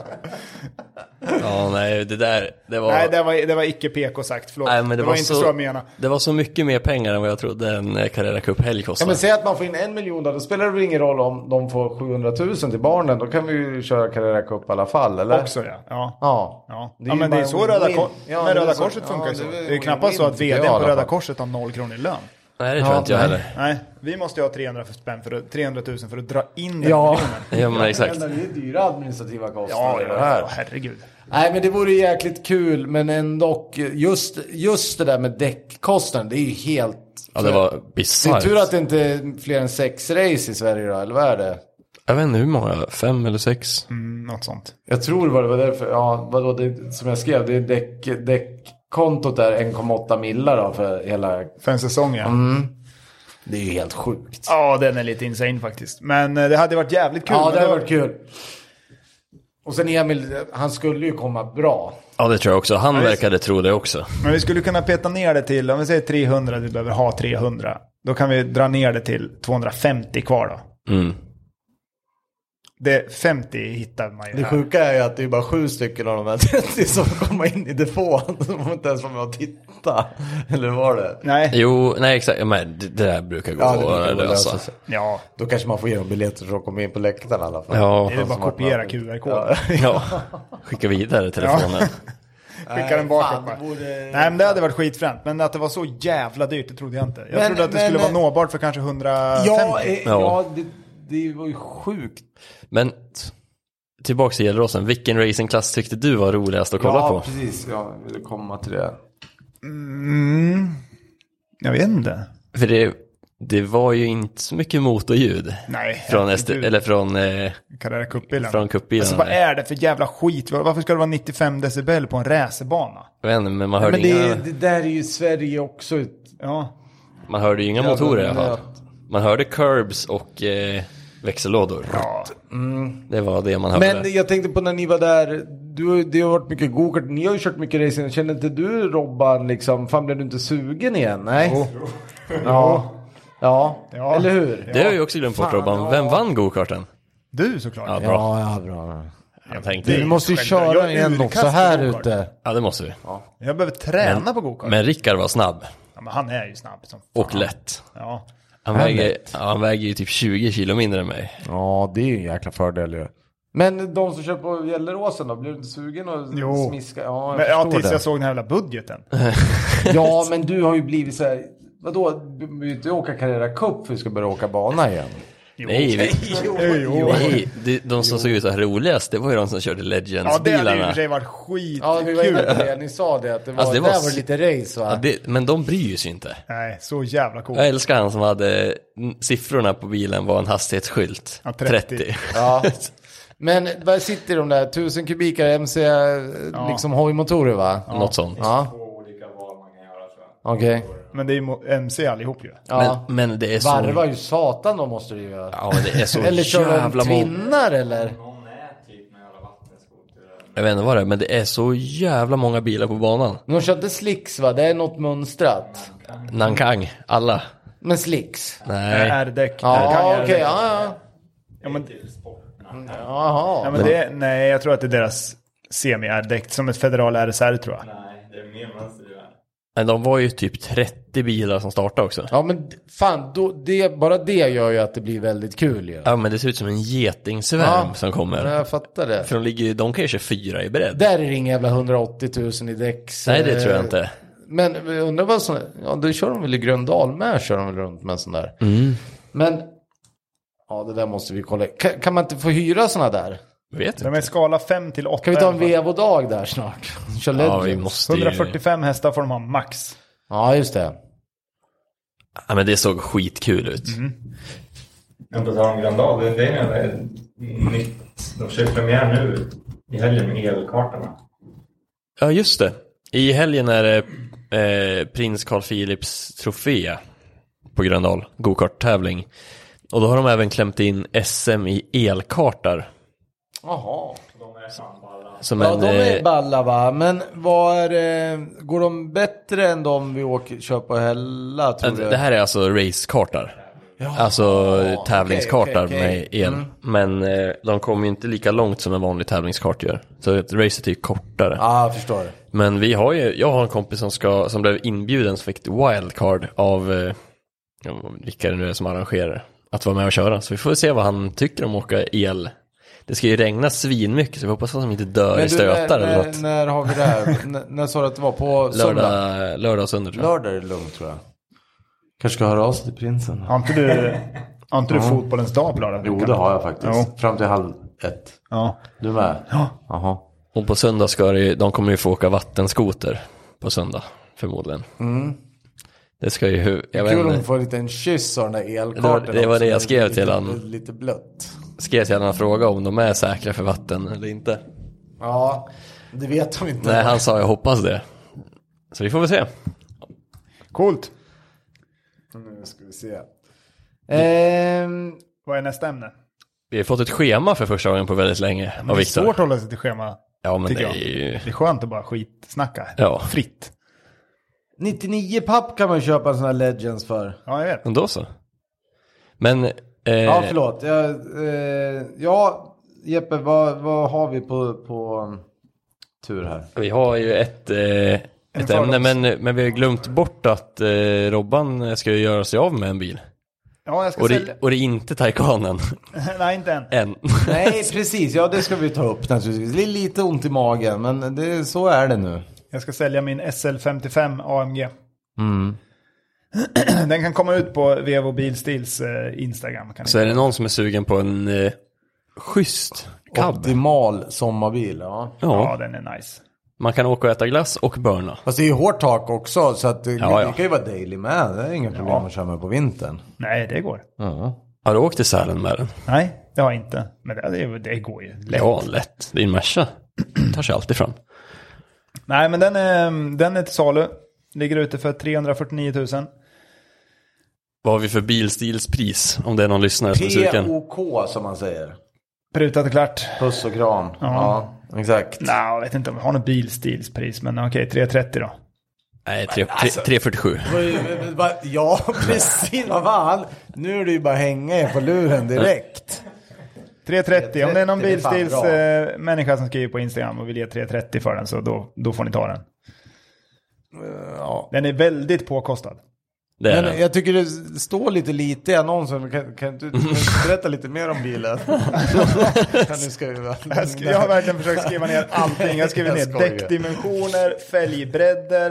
B: Ja, nej, det där, det var...
C: Nej, det var, det var icke PK sagt. Förlåt.
B: nej, men det,
C: var, inte så jag menade.
B: Det var så mycket mer pengar än vad jag trodde en eh, Carrera Cup-helg
A: Ja,
B: kostade.
A: men säg att man får in en miljon då, då spelar det väl ingen roll om de får 700 000 till barnen. Då kan vi ju köra Carrera Cup i alla fall, eller?
C: Också ja. ja.
A: Ja.
C: Ja.
A: ju
C: ja, men det
A: bara
C: är ju så Röda,
A: win-win.
C: Kor-
A: Ja,
C: men
A: det är
C: Röda
A: så-
C: Korset funkar
A: ja,
C: ju så.
A: är
C: Det är
A: win-win
C: knappast så att
A: tycker jag
C: vdn
A: i
C: på
A: alla
C: Röda
A: fall.
C: Korset har noll kronor i lön.
B: Nej, det tror
A: Ja,
B: jag inte jag
A: nej.
B: heller.
C: Nej, vi måste ju ha 300 för spänn för att, 300 000 för att dra in den
A: Ja.
C: miljonen.
B: Ja, men exakt.
A: Det är dyra administrativa
C: Ja,
A: kostnader.
C: ja,
A: det här.
C: ja, herregud.
A: Nej, men det vore jäkligt kul, men ändå just, just det där med däckkostnaden, det är ju helt...
B: Ja, det var
A: Det är
B: bisarrt.
A: tur att det inte är fler än sex race i Sverige då, eller vad är det?
B: Jag vet inte hur många, fem eller sex?
C: Mm, något sånt.
A: Jag tror det var det var därför, ja vadå, det, som jag skrev, det är däck, däckkontot där 1,8 millar då för hela...
C: För en säsong ja.
A: Mm. Det är ju helt sjukt.
C: Ja, den är lite insane faktiskt. Men eh, det hade varit jävligt kul.
A: Ja,
C: Men
A: det
C: då-
A: hade varit kul. Och sen Emil, han skulle ju komma bra.
B: Ja, det tror jag också. Han verkade tro det också.
C: Men vi skulle kunna peta ner det till, om vi säger 300, vi behöver ha 300. Då kan vi dra ner det till 250 kvar då.
B: Mm.
C: Det 50 hittar man ju
A: Det
C: här.
A: sjuka är ju att det är bara sju stycken av de här 30 som får komma in i depån. De får inte ens vara med och titta. Eller var det?
C: Nej,
B: Jo, nej exakt. Ja, Men det det där brukar gå
A: Ja, det brukar
B: att
A: gå att
B: lösa.
A: lösa sig.
C: ja.
A: Då kanske man får ge dem biljetter så de kommer in på läktaren i alla fall.
B: Ja,
C: Det är bara att kopiera QR-koden.
B: ja. Skicka vidare telefonen.
C: Skicka den bakåt
A: fan,
C: bara.
A: det borde-
C: Nej, men det hade varit skitfränt. Men att det var så jävla dyrt, det trodde jag inte. Jag
A: Men-
C: trodde att det
A: men-
C: skulle vara nåbart för kanske 150.
A: Ja, eh,
B: Ja.
A: ja det, det var ju sjukt.
B: Men t- tillbaks till Gelleråsen. Vilken racingklass tyckte du var roligast att kolla
A: ja,
B: på?
A: precis. Jag ville komma till det.
C: Mm, jag vet inte.
B: För det, det var ju inte så mycket motorljud.
C: Nej.
B: Från, SD, eller från, eh,
C: Carrera Cup-bilen.
B: från cupbilen.
C: Alltså vad är det för jävla skit? Varför ska det vara 95 decibel på en racerbana?
B: Jag vet inte, men man hörde,
A: Men det,
B: inga,
A: är- det där är ju Sverige också.
C: Ja.
B: man hörde ju inga
A: Jävla
B: motorer i alla fall.
A: nöt.
B: Man hörde curbs och eh, växellådor.
C: ja.
B: Det var det man hörde.
A: Men jag tänkte på när ni var där. Du, det har varit mycket gokart. Ni har ju kört mycket racing. Känner inte du Robban liksom? Fan blev du inte sugen igen? Nej. Ja. Ja.
C: Ja.
A: Eller hur?
B: det har jag ju också glömt bort Robban. Vem vann gokarten?
C: Du såklart.
B: Ja, bra.
A: Ja, ja bra.
B: Jag tänkte,
A: Vi måste ju
C: Självklart.
A: köra
C: Jag är
A: igen
C: urkast
A: också här
C: på gokart.
A: ute.
B: ja det måste vi.
C: Jag behöver träna på gokart.
B: Men Rickard var snabb
C: Ja, men han är ju snabb som
B: och lätt.
C: Ja.
B: Han väger, ja, han väger ju typ 20 kilo mindre än mig.
A: Ja, det är ju en jäkla fördel ju. Men de som kör på Gelleråsen då, blir du inte sugen och
C: Jo.
A: smiska? Ja, jag
C: Men, ja,
A: förstår
C: tills
A: det.
C: jag såg den här jävla budgeten.
A: Ja, men du har ju blivit så här. Vadå, du behöver ju inte åka Carrera Cup för att du ska börja åka bana igen.
B: nej, vi,
C: Jo.
B: nej det, de som såg ut att ha roligast, det var ju de som körde
C: Ja, det hade ju i och
B: Legends-bilarna.
C: för sig varit
A: Ja, vi var inne på
C: skitkul.
A: det. Ni sa det att det var,
B: Alltså, det var
A: där var
B: s-
A: det lite race va?
B: Ja, det, men de bryr sig inte.
C: Nej, så jävla coolt.
B: Jag älskar han som hade mm, siffrorna på bilen var en hastighetsskylt.
C: Ja,
B: 30.
C: 30.
A: Ja. Men där sitter de där, 1000 kubikar MC, eh, liksom hojmotorer va?
B: Något sånt.
A: Ja,
D: Två olika val man kan göra tror jag.
A: okej.
C: Men det är ju mo- MC allihop ju.
A: Ja.
B: Men, men det är så...
A: Varva ju satan då måste du ju göra.
B: Ja, det är så
A: Eller köra en
B: jävla många...
A: twinnar eller?
D: Någon är typ med alla vattenskotrar.
B: Jag vet inte vad det är, men det är så jävla många bilar på banan.
A: De körde slicks va? Det är något mönstrat.
B: Nankang, alla.
A: Men slicks?
B: Nej.
C: R-däck.
A: Ja, okej.
C: R-däck.
A: ja, ja.
C: Ja, men,
D: Till sporterna.
C: ja,
A: Jaha.
C: men det, nej, jag tror att det är deras semi-R-däck. Som ett federal RSR tror jag.
D: Nej, det är mer mönsterdrivna.
B: Men de var ju typ 30 bilar som startade också.
A: Ja men fan, då, det, bara det gör ju att det blir väldigt kul ju.
B: Ja, men det ser ut som en getingsvärm
A: Ja.
B: som kommer.
A: Ja, jag fattar det.
B: För de, ligger, ju- de kan ju köra fyra i bredd.
A: Där är det inga jävla 180 000 i däck. så-
B: Nej, det tror jag inte.
A: Men jag undrar vad som, ja det kör de väl i Gröndal med, kör de väl runt med en sån där.
B: Mm.
A: Men, ja det där måste vi kolla. Kan, kan man inte få hyra såna där?
B: Vet
C: De är
B: inte.
C: skala 5 till 8.
A: Kan vi ta en vevodag där snart? Kör
B: Ja,
A: Legends.
B: vi måste ju...
C: 145 hästar får de ha max.
A: Ja, just det.
B: Ja, men det såg skitkul ut.
A: Mhm.
D: Men på tal om Grandal, det det är något nytt. De kör premiär nu i helgen med elkartorna.
B: Ja, just det. I helgen är det eh, prins Carl Philips trofé på Gröndal, gokart-tävling. Och då har de även klämt in SM i elkartar.
A: Jaha.
D: De är fan balla.
B: Som
A: Ja,
B: en,
A: de är
B: eh,
A: balla va? Men vad är, eh, går de bättre än de vi åker, kör på Hälla tror du?
B: det här är alltså racekartar. alltså tävlingskartar
A: okej, Mm. okej,
B: med el. Men eh, de kommer ju inte lika långt som en vanlig tävlingskart gör. Så ett race är typ kortare.
A: Ja, jag förstår.
B: Men vi har ju, jag har en kompis som, ska, som blev inbjuden som fick ett wildcard av eh, ja, vilka det nu är som arrangerar att vara med och köra. Så vi får se vad han tycker om att åka el. Det ska ju regna svinmycket så vi hoppas att de inte dör i stötar
A: när,
B: eller
A: när,
B: något.
A: när har vi det här? N- när sa du att det var? På söndag?
B: Lördag, lördag och söndag tror jag.
A: Lördag är det lugnt tror jag. Kanske ska höra av sig till prinsen.
C: Har inte du, har inte du fotbollens dag på lördag?
A: Jo, det har jag faktiskt.
C: Jo.
A: Fram till halv ett.
C: Ja.
A: Du med? Ja. Jaha.
B: Och på söndag ska det, ju- de kommer ju få åka vattenskoter på söndag förmodligen. Det ska ju, hu- jag vet
A: Mm. Kul om du
B: inte,
A: får en liten kyss av den där elkartan.
B: Det var- det var
A: också.
B: det jag skrev
A: Lite-
B: till han.
A: Lite blött.
B: skrev till honom och frågade om de är säkra för vatten eller inte.
A: Ja, det vet de inte.
B: Nej, han sa jag hoppas det. Så vi får väl se.
C: Coolt.
A: Nu ska vi se. Ehm,
C: Vad är nästa ämne?
B: Vi har fått ett schema för första gången på väldigt länge av
C: Det är svårt
B: Viktor.
C: att hålla sig till schema.
B: Ja, men det
C: tycker
B: är ju...
C: Det är skönt att bara skitsnacka.
B: Ja.
C: Fritt.
A: 99 papp kan man köpa en sån här Legends för.
C: Ja, jag vet.
B: Men Då så. Men... Eh,
A: Ja, förlåt. Jag, eh, ja, Jeppe, vad, vad har vi på, på um, tur här?
B: vi har ju ett, eh, ett
C: fördoms-
B: ämne, men, men vi har glömt bort att eh, Robban ska ju göra sig av med en bil.
C: Ja, jag ska
B: Och
C: sälja.
B: det, och det är inte Taycanen
C: Nej, inte än.
B: än.
A: Nej, precis. Ja, det ska vi ta upp naturligtvis. Det är lite ont i magen, men det, så är det nu.
C: Jag ska sälja min SL55 AMG.
B: Mm.
C: Den kan komma ut på Vevo Bilstils eh, Instagram. Kan ni-
B: Så är det någon som är sugen på en eh, schysst cab.
A: Optimal sommarbil, ja.
C: Ja,
B: Ja,
C: den är nice.
B: man kan åka och äta glass och burna.
A: Fast det är ju hårt tak också, så att det,
B: Ja, ja.
A: det kan ju vara daily med. Det är inga problem att köra med på vintern.
C: Nej, det går.
B: Har du åkt till Sälen med den?
C: Nej, det har jag inte. Men det, det, det går ju. Lätt.
B: Ja, lätt. Din Merca tar sig alltid fram.
C: Nej, men den är, den är till salu. Ligger ute för 349 000.
B: Vad har vi för bilstilspris? Om det är någon lyssnare som är sugen.
A: POK som man säger.
C: Prutat och klart.
A: Puss och kram. Ja, exakt.
C: Nej, jag vet inte om vi har något bilstilspris, men okej, 330 då.
B: Nej, tre- tre- 347.
A: Det var ju- va- Ja, precis. Vad fan. Nu är det ju bara hänga er på luren direkt.
C: 330, om det är
A: 330,
C: någon
A: det är fan
C: bilstils eh, människa som skriver på Instagram och vill ge 330 för den så då, då får ni ta den. Den är väldigt påkostad.
B: Det är
A: Men
B: den.
A: jag tycker det står lite lite i annonsen. Kan, kan du kan du berätta lite mer om bilen? kan du skriva?
C: Jag, skri- jag har verkligen försökt skriva ner allting. Jag har skrivit
A: Jag
C: ner
A: skojar.
C: däckdimensioner, fälgbredder,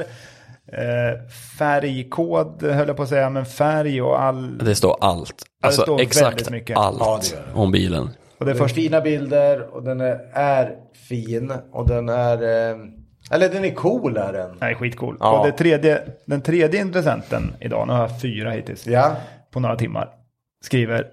C: eh, färgkod höll jag på att säga, men färg och all...
B: Det står allt. Alltså
C: står väldigt
B: exakt
C: mycket.
B: allt
A: Ja, det gör det.
B: om bilen.
C: Och det
A: Det är
C: första,
A: fina bilder och den är, är fin och den är... Eh, eller den är cool är den.
C: nej, skitcool.
A: Ja.
C: Och det tredje, den tredje intressenten idag, nu har jag fyra hittills,
A: Ja.
C: på några timmar, skriver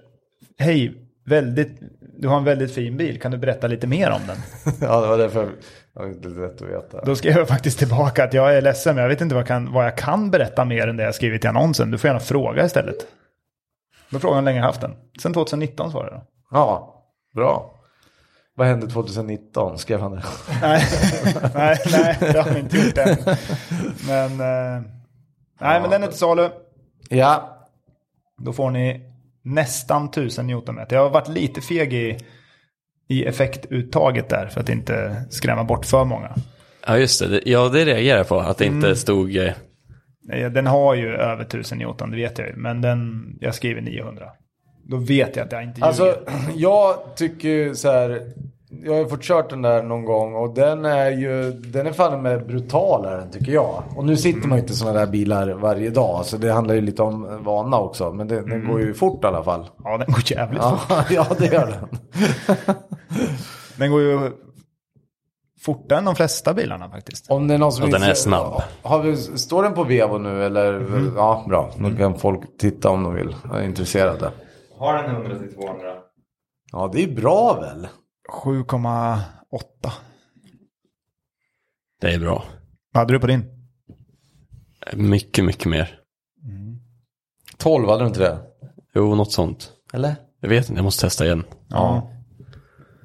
C: Hej, väldigt, du har en väldigt fin bil, kan du berätta lite mer om den?
A: ja, det var därför jag var inte lätt att veta.
C: Då skrev jag faktiskt tillbaka att jag är ledsen, men jag vet inte vad jag kan, vad jag kan berätta mer än det jag skrivit i annonsen. Du får gärna fråga istället. Då frågade han hur länge jag haft den. Sen 2019 svarade jag. då.
A: Ja, bra. Vad hände 2019? Skrev han det?
C: Nej, nej, nej, det har vi inte gjort än. Men, eh, nej, men den är till salu.
A: Ja,
C: Då får ni nästan 1000 newtonmeter. Jag har varit lite feg i, i effektuttaget där för att inte skrämma bort för många.
B: Ja just det, Det- ja det reagerar jag på att det inte stod eh,
C: Eh, Den har ju över 1000 newton, det vet jag ju. Men den, jag skriver 900. Då vet jag att jag inte ljuger.
A: alltså jag tycker ju så här. Jag har ju fått kört den där någon gång och den är ju, den är fan med brutalare än tycker jag. Och nu sitter man ju inte i sådana där bilar varje dag så det handlar ju lite om vana också. Men det, den går ju fort i alla fall.
C: Ja, den går jävligt fort.
A: Ja, ja det gör den.
C: Den går ju fortare än de flesta bilarna faktiskt.
A: Om det är Mm-hmm. någon som
B: Och den
A: inte-
B: är snabb.
A: Har vi, står den på Vevo nu eller? Ja, bra. Då kan folk titta om de vill. Jag är intresserade.
D: Har den 100 till 200?
A: Ja, det är bra väl?
C: 7,8.
B: det är bra.
C: Vad hade du på din?
B: Mycket, mycket mer.
A: 12, hade du inte det?
B: Jo, något sånt.
A: Eller?
B: Jag vet inte, jag måste testa igen.
C: Ja.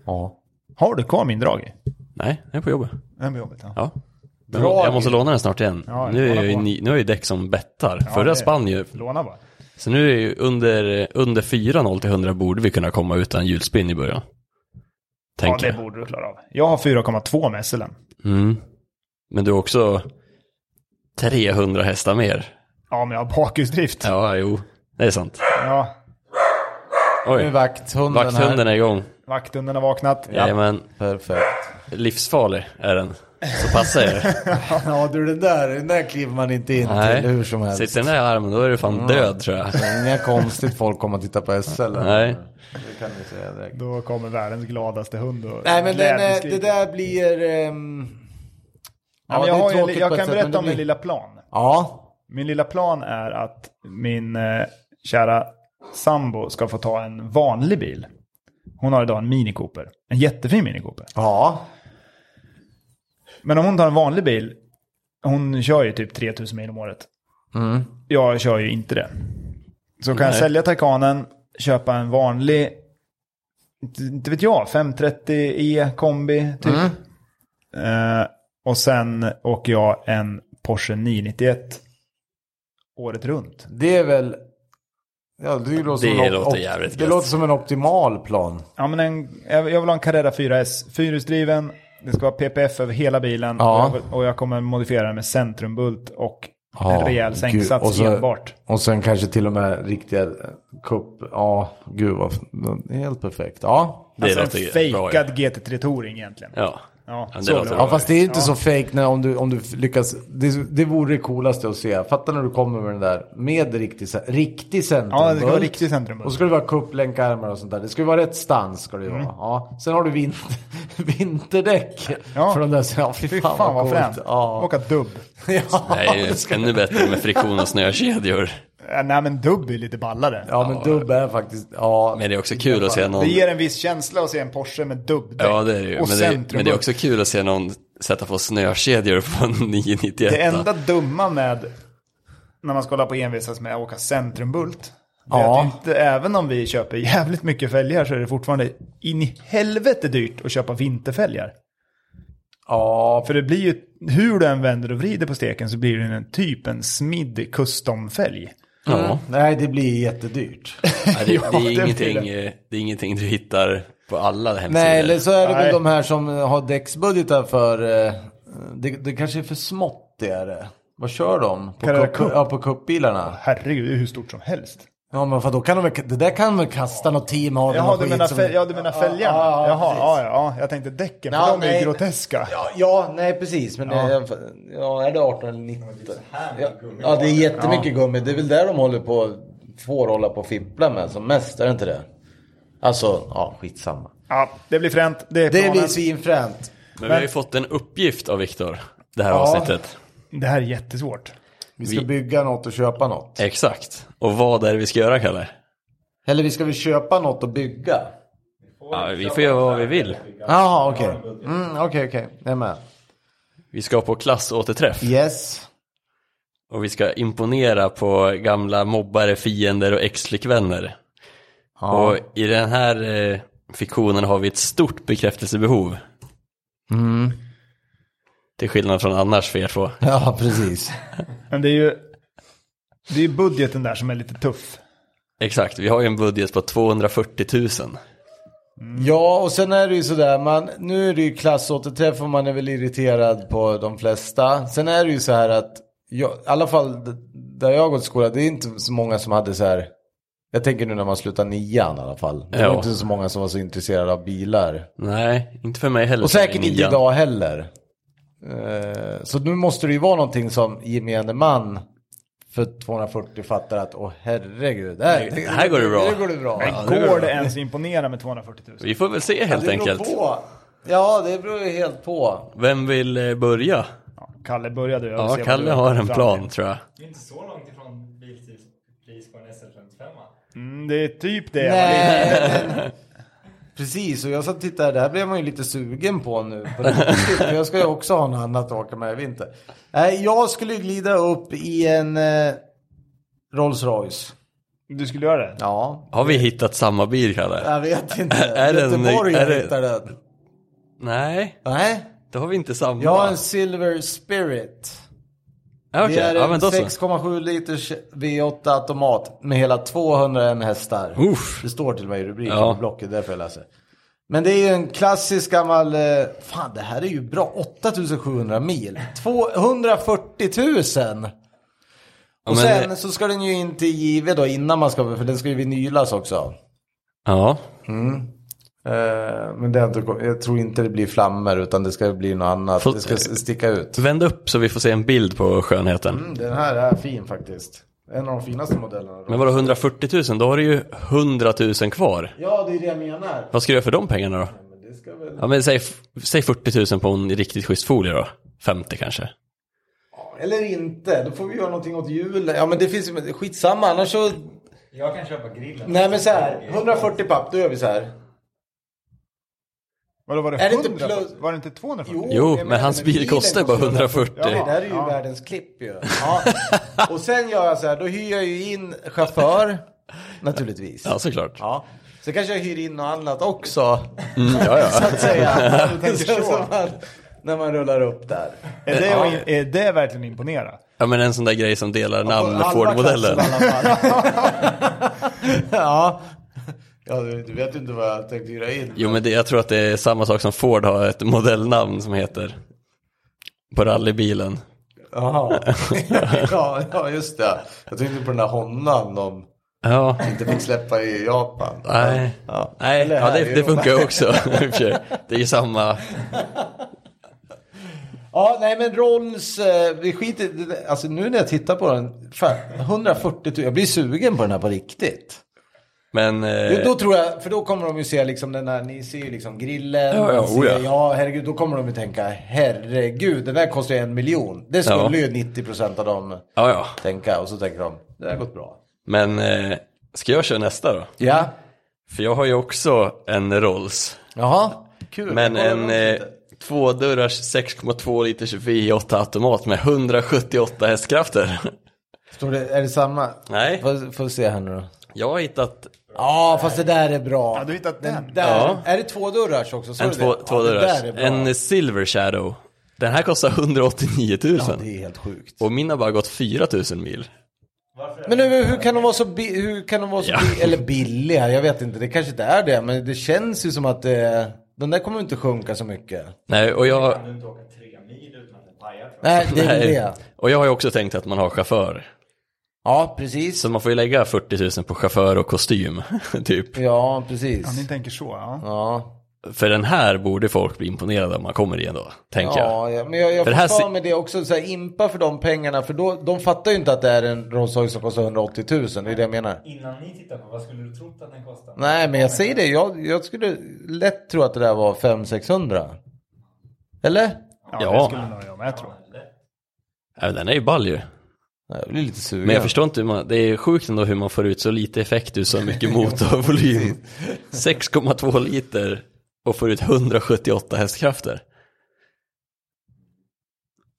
A: Ja.
C: Mm. Har du kvar min drag i?
B: Nej, jag är på jobbet.
C: Den blir jobbigt. Ja.
B: Ja. Men
A: Bra.
B: jag måste låna den snart igen.
C: Ja,
B: nu, är
C: kolla
B: jag ju,
C: på.
B: ni- nu är ju däck som bettar.
C: det är-
B: Förra spann ju.
C: Låna bara.
B: Så nu är ju under, under 4.0 till 100 borde vi kunna komma utan hjulspinn i början.
C: Ja,
B: Tänker
C: det
B: jag.
C: borde du klara av. Jag har 4,2 med SLM.
B: Mm. Men du har också 300 hästar mer.
C: Ja, men jag har bakhjulsdrift. Ja.
B: Ja, jo. Det är sant.
A: Nu är
B: Oj,
A: vakthunden,
B: vakthunden är igång.
C: Vakthunden har vaknat.
A: Ja.
B: Jajamän.
A: här. Perfekt.
B: Livsfarlig är den. Så passa er.
A: Ja, du den där, den där kliver man inte in
B: Nej.
A: till hur som helst.
B: Sitter den där i armen då är du
C: Mm.
B: fan död tror jag.
A: Inga konstigt folk kommer att titta på SL.
B: Nej.
A: Det kan vi säga direkt.
C: Då kommer världens gladaste hund och
A: Nej, men den, eh,
C: glädjeskrik.
A: det där blir... ehm,
C: Ja, men
A: det
C: jag,
A: är
C: har ju en,
A: tråkigt
C: li-
A: på
C: jag
A: ett
C: kan
A: sätt, men
C: berätta
A: det
C: om
A: blir-
C: min lilla plan.
A: Ja.
C: Min lilla plan är att min eh, kära sambo ska få ta en vanlig bil. Hon har idag en Mini Cooper. En jättefin Mini Cooper.
A: Ja.
C: Men om hon tar en vanlig bil, hon kör ju typ 3000 mil om året.
A: Mm.
C: Jag kör ju inte det. Så kan jag
B: Nej.
C: sälja Taycanen, köpa en vanlig, inte- inte vet jag, 530e kombi typ.
A: Mm.
C: Eh, och sen åker jag en Porsche 991 året runt.
A: Det är väl... Ja, det låter,
B: Det
A: som en
B: låter jävligt
A: Det
B: gött.
A: låter som en optimal plan.
C: Ja, men en, jag jag vill ha en Carrera 4S. Fyrhjulsdriven, det ska vara PPF över hela bilen.
A: Ja.
C: Och, jag, vill- och jag kommer modifiera den med centrumbult och
A: Ja,
C: en rejäl
A: gud,
C: sänksats
A: och så-
C: enbart.
A: Och sen kanske till och med riktiga eh, kupp. Ja, gud vad... Helt perfekt. Ja.
B: Det
C: alltså en
B: låter bra.
C: fejkad GT3 Touring egentligen.
B: Ja.
C: Ja,
B: Ja, det
C: så
B: låter
C: bra.
B: bra.
A: Ja fast det är inte så fake när, om, du, om du lyckas. Det, det vore det coolaste att se. Fatta när du kommer med den där med riktig, ce- riktig centrum.
C: Ja, det ska vara riktig centrumbult.
A: Och så ska det vara kupplänkarmar och sånt där. Det ska ju vara rätt stans ska det ju vara.
C: Mm.
A: Ja. Sen har du vinter, vinterdäck.
C: Ja.
A: För de där, ja, fy,
C: Fy fan, vad
A: coolt.
C: fränt.
A: Ja.
C: Åka dubb.
B: Det är ju ännu bättre med friktion och snökedjor.
C: Äh, Nej men dubb är lite ballare.
A: ja men dubb är faktiskt. Ja.
B: Men det är också kul att se någon...
C: Det ger en viss känsla att se en Porsche med dubbdäck.
B: Ja, det är det ju.
C: Och
B: Men det, men det är
C: centrumbult.
B: också kul att se någon sätta på snökedjor på en 991.
C: Det enda dumma med när man ska hålla på och envisas med att åka centrumbult. det är
A: Ja.
C: Att inte, även om vi köper jävligt mycket fälgar så är det fortfarande in i helvete dyrt att köpa vinterfälgar.
A: Ja.
C: För det blir ju, hur du än vänder och vrider på steken så blir det en typ en smidd custom-fälg.
B: Ja.
A: Nej det blir jättedyrt.
B: Nej, det, det,
C: det
B: är
C: blir
B: ingenting,
C: det.
B: eh, det är ingenting du hittar på alla hemsidor.
A: Nej, eller så är det
C: Nej.
A: väl de här som har däcksbudgetar för... eh, Det, det kanske är för smått, det är det. Vad kör de? På,
C: Carrera
A: cup,
C: Cup?
A: Ja, på cupbilarna?
C: Herregud, det är hur stort som helst.
A: Ja men för då kan de väl- det där kan väl kasta något team av
C: Jaha,
A: någon
C: du
A: skit
C: menar,
A: som-
C: fäl- ja, du menar fälgarna?
A: ja, ja,
C: Jaha,
A: precis.
C: ja, ja, jag tänkte däcken, för
A: Ja,
C: de är
A: nej.
C: ju groteska.
A: Ja, ja, nej precis. Men
C: Ja.
A: ja. ja, är det 18 eller 19?
D: det är så här
A: Ja,
D: mycket gummi.
A: ja, det är jättemycket gummi. Det är väl där de håller på, får hålla på och fippla med som mest, är det inte det? Alltså, ja skitsamma.
C: Ja, det blir fränt. Det, är
A: Det
C: planen.
A: blir svinfränt.
B: Men vi har ju fått en uppgift av Viktor, det här
A: Ja.
B: avsnittet.
C: det här är jättesvårt.
A: Vi ska
B: Vi-
A: bygga något och köpa något.
B: Exakt. Och vad är det vi ska göra, Kalle?
A: Eller vi ska väl köpa något och bygga?
B: Ja, vi får göra vad vi vill.
A: Jaha, okej. Mm, okej, okej. Jag är med.
B: Vi ska på klassåterträff
A: Yes.
B: och vi ska imponera på gamla mobbare, fiender och ex-flickvänner. Och i den här eh, fiktionen har vi ett stort bekräftelsebehov.
A: Mm.
B: Till skillnad från annars för er två.
A: Ja, precis.
C: Men det är ju det är ju budgeten där som är lite tuff.
B: Exakt, vi har ju en budget på 240 000.
A: Ja, och sen är det ju sådär, man, nu är det ju klassåterträff och man är väl irriterad på de flesta. Sen är det ju så här att, jag, i alla fall d- där jag har gått i skola, det är inte så många som hade så här, jag tänker nu när man slutar nian i alla fall. Det var
B: Ja.
A: inte så många som var så intresserade av bilar.
B: Nej, inte för mig heller.
A: Och
B: som är
A: säkert inte
B: nian.
A: idag heller. Eh, Så nu måste det ju vara någonting som gemene man för 240 fattar att, åh herregud, det här,
B: Det här går det bra.
A: Det går det bra.
B: Ja, det
C: Går det ens att imponera med 240 000?
B: Vi får väl se helt
A: det
B: enkelt.
A: Beror på. Ja, det beror ju helt på.
B: Vem vill eh, börja?
C: Ja, Kalle började. Jag vill se
B: Ja,
C: vad
B: Kalle
C: du
B: har en
C: fram
B: plan
C: till.
B: tror jag.
D: Det är inte så långt ifrån bilpris på en SL55.
C: Mm, det är typ det.
A: Nej. men- Eh, Precis, och jag satt och tittade, det här blev man ju lite sugen på nu. På riktigt, för jag ska ju också ha något annat att åka med i vinter. Nej, Eh, jag skulle glida upp i en eh, Rolls Royce.
C: Du skulle göra det?
A: Ja,
B: Har vi hittat samma bil Kalle?
A: jag vet inte.
B: Är det en-
A: Göteborg
B: är det-
A: hittade den.
B: Nej,
A: Nej,
B: då har vi inte samma.
A: jag har en Silver Spirit.
B: Ja,
A: Det
B: okej.
A: är
B: ja,
A: en
B: men då så.
A: 6,7 liters V8 automat med hela 201 hästar.
B: Uff.
A: Det står till och med i rubriken
B: Ja.
A: på blocket, därför jag läser. Men det är ju en klassisk gammal, eh, fan det här är ju bra, 8700 mil. 240 000!
B: Ja,
A: Och
B: men-
A: sen så ska den ju in till JW då innan man ska, för den ska ju vinylas också.
B: Ja,
A: Eh, Men det har inte, kom- jag tror inte det blir flammor utan det ska bli något annat.
B: Får-
A: Det ska s- sticka ut.
B: vänd upp så vi får se en bild på skönheten.
A: Mm, Den här är fin faktiskt. En av de finaste modellerna.
B: Men vadå 140 000? Då har du ju 100 000 kvar.
A: Ja, det är det jag menar.
B: Vad ska du göra för de pengarna då?
A: Men det ska väl...
B: Ja men säg, säg 40 000 på en riktigt schysst folie då. 50 kanske.
A: Eller inte, då får vi göra någonting åt julen. Ja men det finns ju, skitsamma annars så...
D: Jag kan köpa grillen.
A: Nej men så här, 140 papp, då gör vi så här.
C: Vadå, var det,
A: Är det inte
C: 100?
A: plus-
C: Var det inte 240?
A: Jo.
B: Jo,
A: jag
B: men
A: menar,
B: hans
A: men
B: bil
A: bilen
B: kostar bara
A: kostar
B: 140.
A: Ja, det där är ju världens klipp ju. Ja. Och sen gör jag så här, då hyr jag ju in chaufför, naturligtvis.
B: Ja, såklart.
A: Ja. Så kanske jag hyr in något annat också,
B: Mm, ja,
A: så
B: ja.
A: att säga.
C: tänker
A: Så-
C: så.
A: så man, när man rullar upp där.
C: Är, det, att- är det verkligen imponera?
B: ja, men en sån där grej som delar namn med
A: Halva
B: Ford-modellen.
A: klassen i alla fall. ja. ja, du du vet ju inte vad jag tänkte hyra in.
B: Jo, men det, jag tror att det är samma sak som Ford har ett modellnamn som heter. På rallybilen.
A: Jaha. ja, ja, just det. Jag tänkte på den där Hondan de
B: Ja,
A: inte fick släppa i Japan.
B: nej.
A: Ja.
B: Nej,
A: Eller
B: ja,
A: här
B: det,
A: i
B: det
A: Europa.
B: funkar ju också. i och för sig. det är ju samma.
A: Ja, nej men Rolls, eh, vi skiter i det- Alltså nu när jag tittar på den, fan, 140 000, jag blir sugen på den här på riktigt.
B: Men eh,
A: Jo, Då tror jag, för då kommer de ju se liksom den där, ni ser ju liksom grillen.
B: Ja, ja,
A: man ser,
B: oh ja.
A: ja herregud, då kommer de ju tänka, herregud, den där kostar ju en miljon. Det skulle
B: Ja.
A: ju 90% av dem
B: ja, ja.
A: tänka och så tänker de, det har gått bra.
B: Men eh, ska jag köra nästa då?
A: Ja,
B: För jag har ju också en Rolls.
A: jaha, kul.
B: Men
A: Kolla
B: en
A: runt
B: eh,
A: lite.
B: tvådörrars 6,2 liters V8 automat med 178 hästkrafter.
A: Står det, är det samma?
B: Nej,
A: Får, får se här nu då.
B: jag har hittat
A: Ja, fast det där är bra.
C: Ja, du har hittat den.
A: Där,
B: Ja.
A: Är det två dörrar också? Så
B: en två,
A: det?
B: två
A: Ja,
B: dörrars.
A: det där är bra.
B: En Silver Shadow. Den här kostar 189 000.
A: ja, det är helt sjukt.
B: Och min har bara gått 4 000 mil.
A: Men hur, hur kan de vara så, bi- hur kan de vara så
B: Ja.
A: bi- eller billiga? Jag vet inte, det kanske inte är det. Men det känns ju som att eh, den där kommer inte sjunka så mycket.
B: Nej, och jag,
D: Kan du inte åka tre mil utan att det pajar? jag
E: Nej,
D: tror.
E: det är väl det.
B: Och jag har ju också tänkt att man har chaufför.
A: Ja, precis.
B: Så man får ju lägga 40 000 på chaufför och kostym, typ.
A: Ja, precis.
C: Ja, ni tänker så, ja.
A: Ja,
B: För den här borde folk bli imponerade om man kommer i ändå, tänker jag.
A: ja, ja, men jag, jag får
B: För det här
A: för
B: se-
A: mig det också. Så här, impa för de pengarna, för då, de fattar ju inte att det är en Rolls Royce som kostar 180 000. Det är det jag menar.
D: Innan ni tittar på, vad skulle du trott att den kostade?
A: Nej, men jag säger det. Jag, jag skulle lätt tro att det där var 500-600. Eller?
C: Ja,
B: Ja.
C: det skulle nog jag med tro.
B: Ja, men Äh, Den är ju ball ju.
A: Jag blir lite sugen.
B: Men jag förstår inte hur man, det är sjukt ändå hur man får ut så lite effekt ur så mycket motorvolym. 6,2 liter och får ut 178 hästkrafter.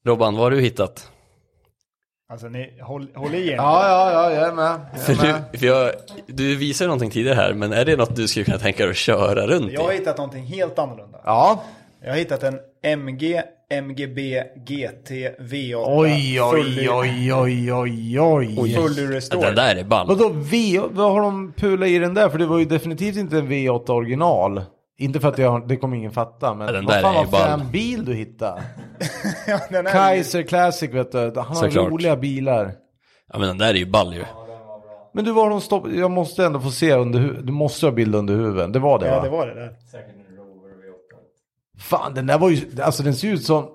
B: Robban, vad har du hittat?
C: Alltså, ni, håll, håll i er.
A: Ja, ja, ja, jag är med.
B: För
A: Jag är med.
B: du, för jag, du visade någonting tidigare här, men är det något du skulle kunna tänka dig att köra runt
C: Jag har
B: i?
C: hittat någonting helt annorlunda.
A: Ja,
C: Jag har hittat en MG, MGB, GT, V8.
E: Oj,
C: full-
E: oj, oj, oj, oj, oj.
C: Fully
B: Ja,
C: restored.
B: Den där är ball.
A: Vadå V? Vad har de pulat i den där? För det var ju definitivt inte en V8 original. Inte för att jag, det kommer ingen fatta, men
B: Ja, den
A: vad
B: där
A: fan
B: är
A: var
B: ju ball.
A: frän bil du hittade?
C: Ja, den är-
A: Kaiser Classic vet du, han har
B: Såklart.
A: roliga bilar.
B: Ja men den där är ju ball ju.
A: Men du var de stopp... Jag måste ändå få se under hu- Du måste ha bild under huven. Det var det va?
C: Ja, det var det där.
D: Säkert en Rover V8.
A: Fan den där var ju... Alltså den ser ut som...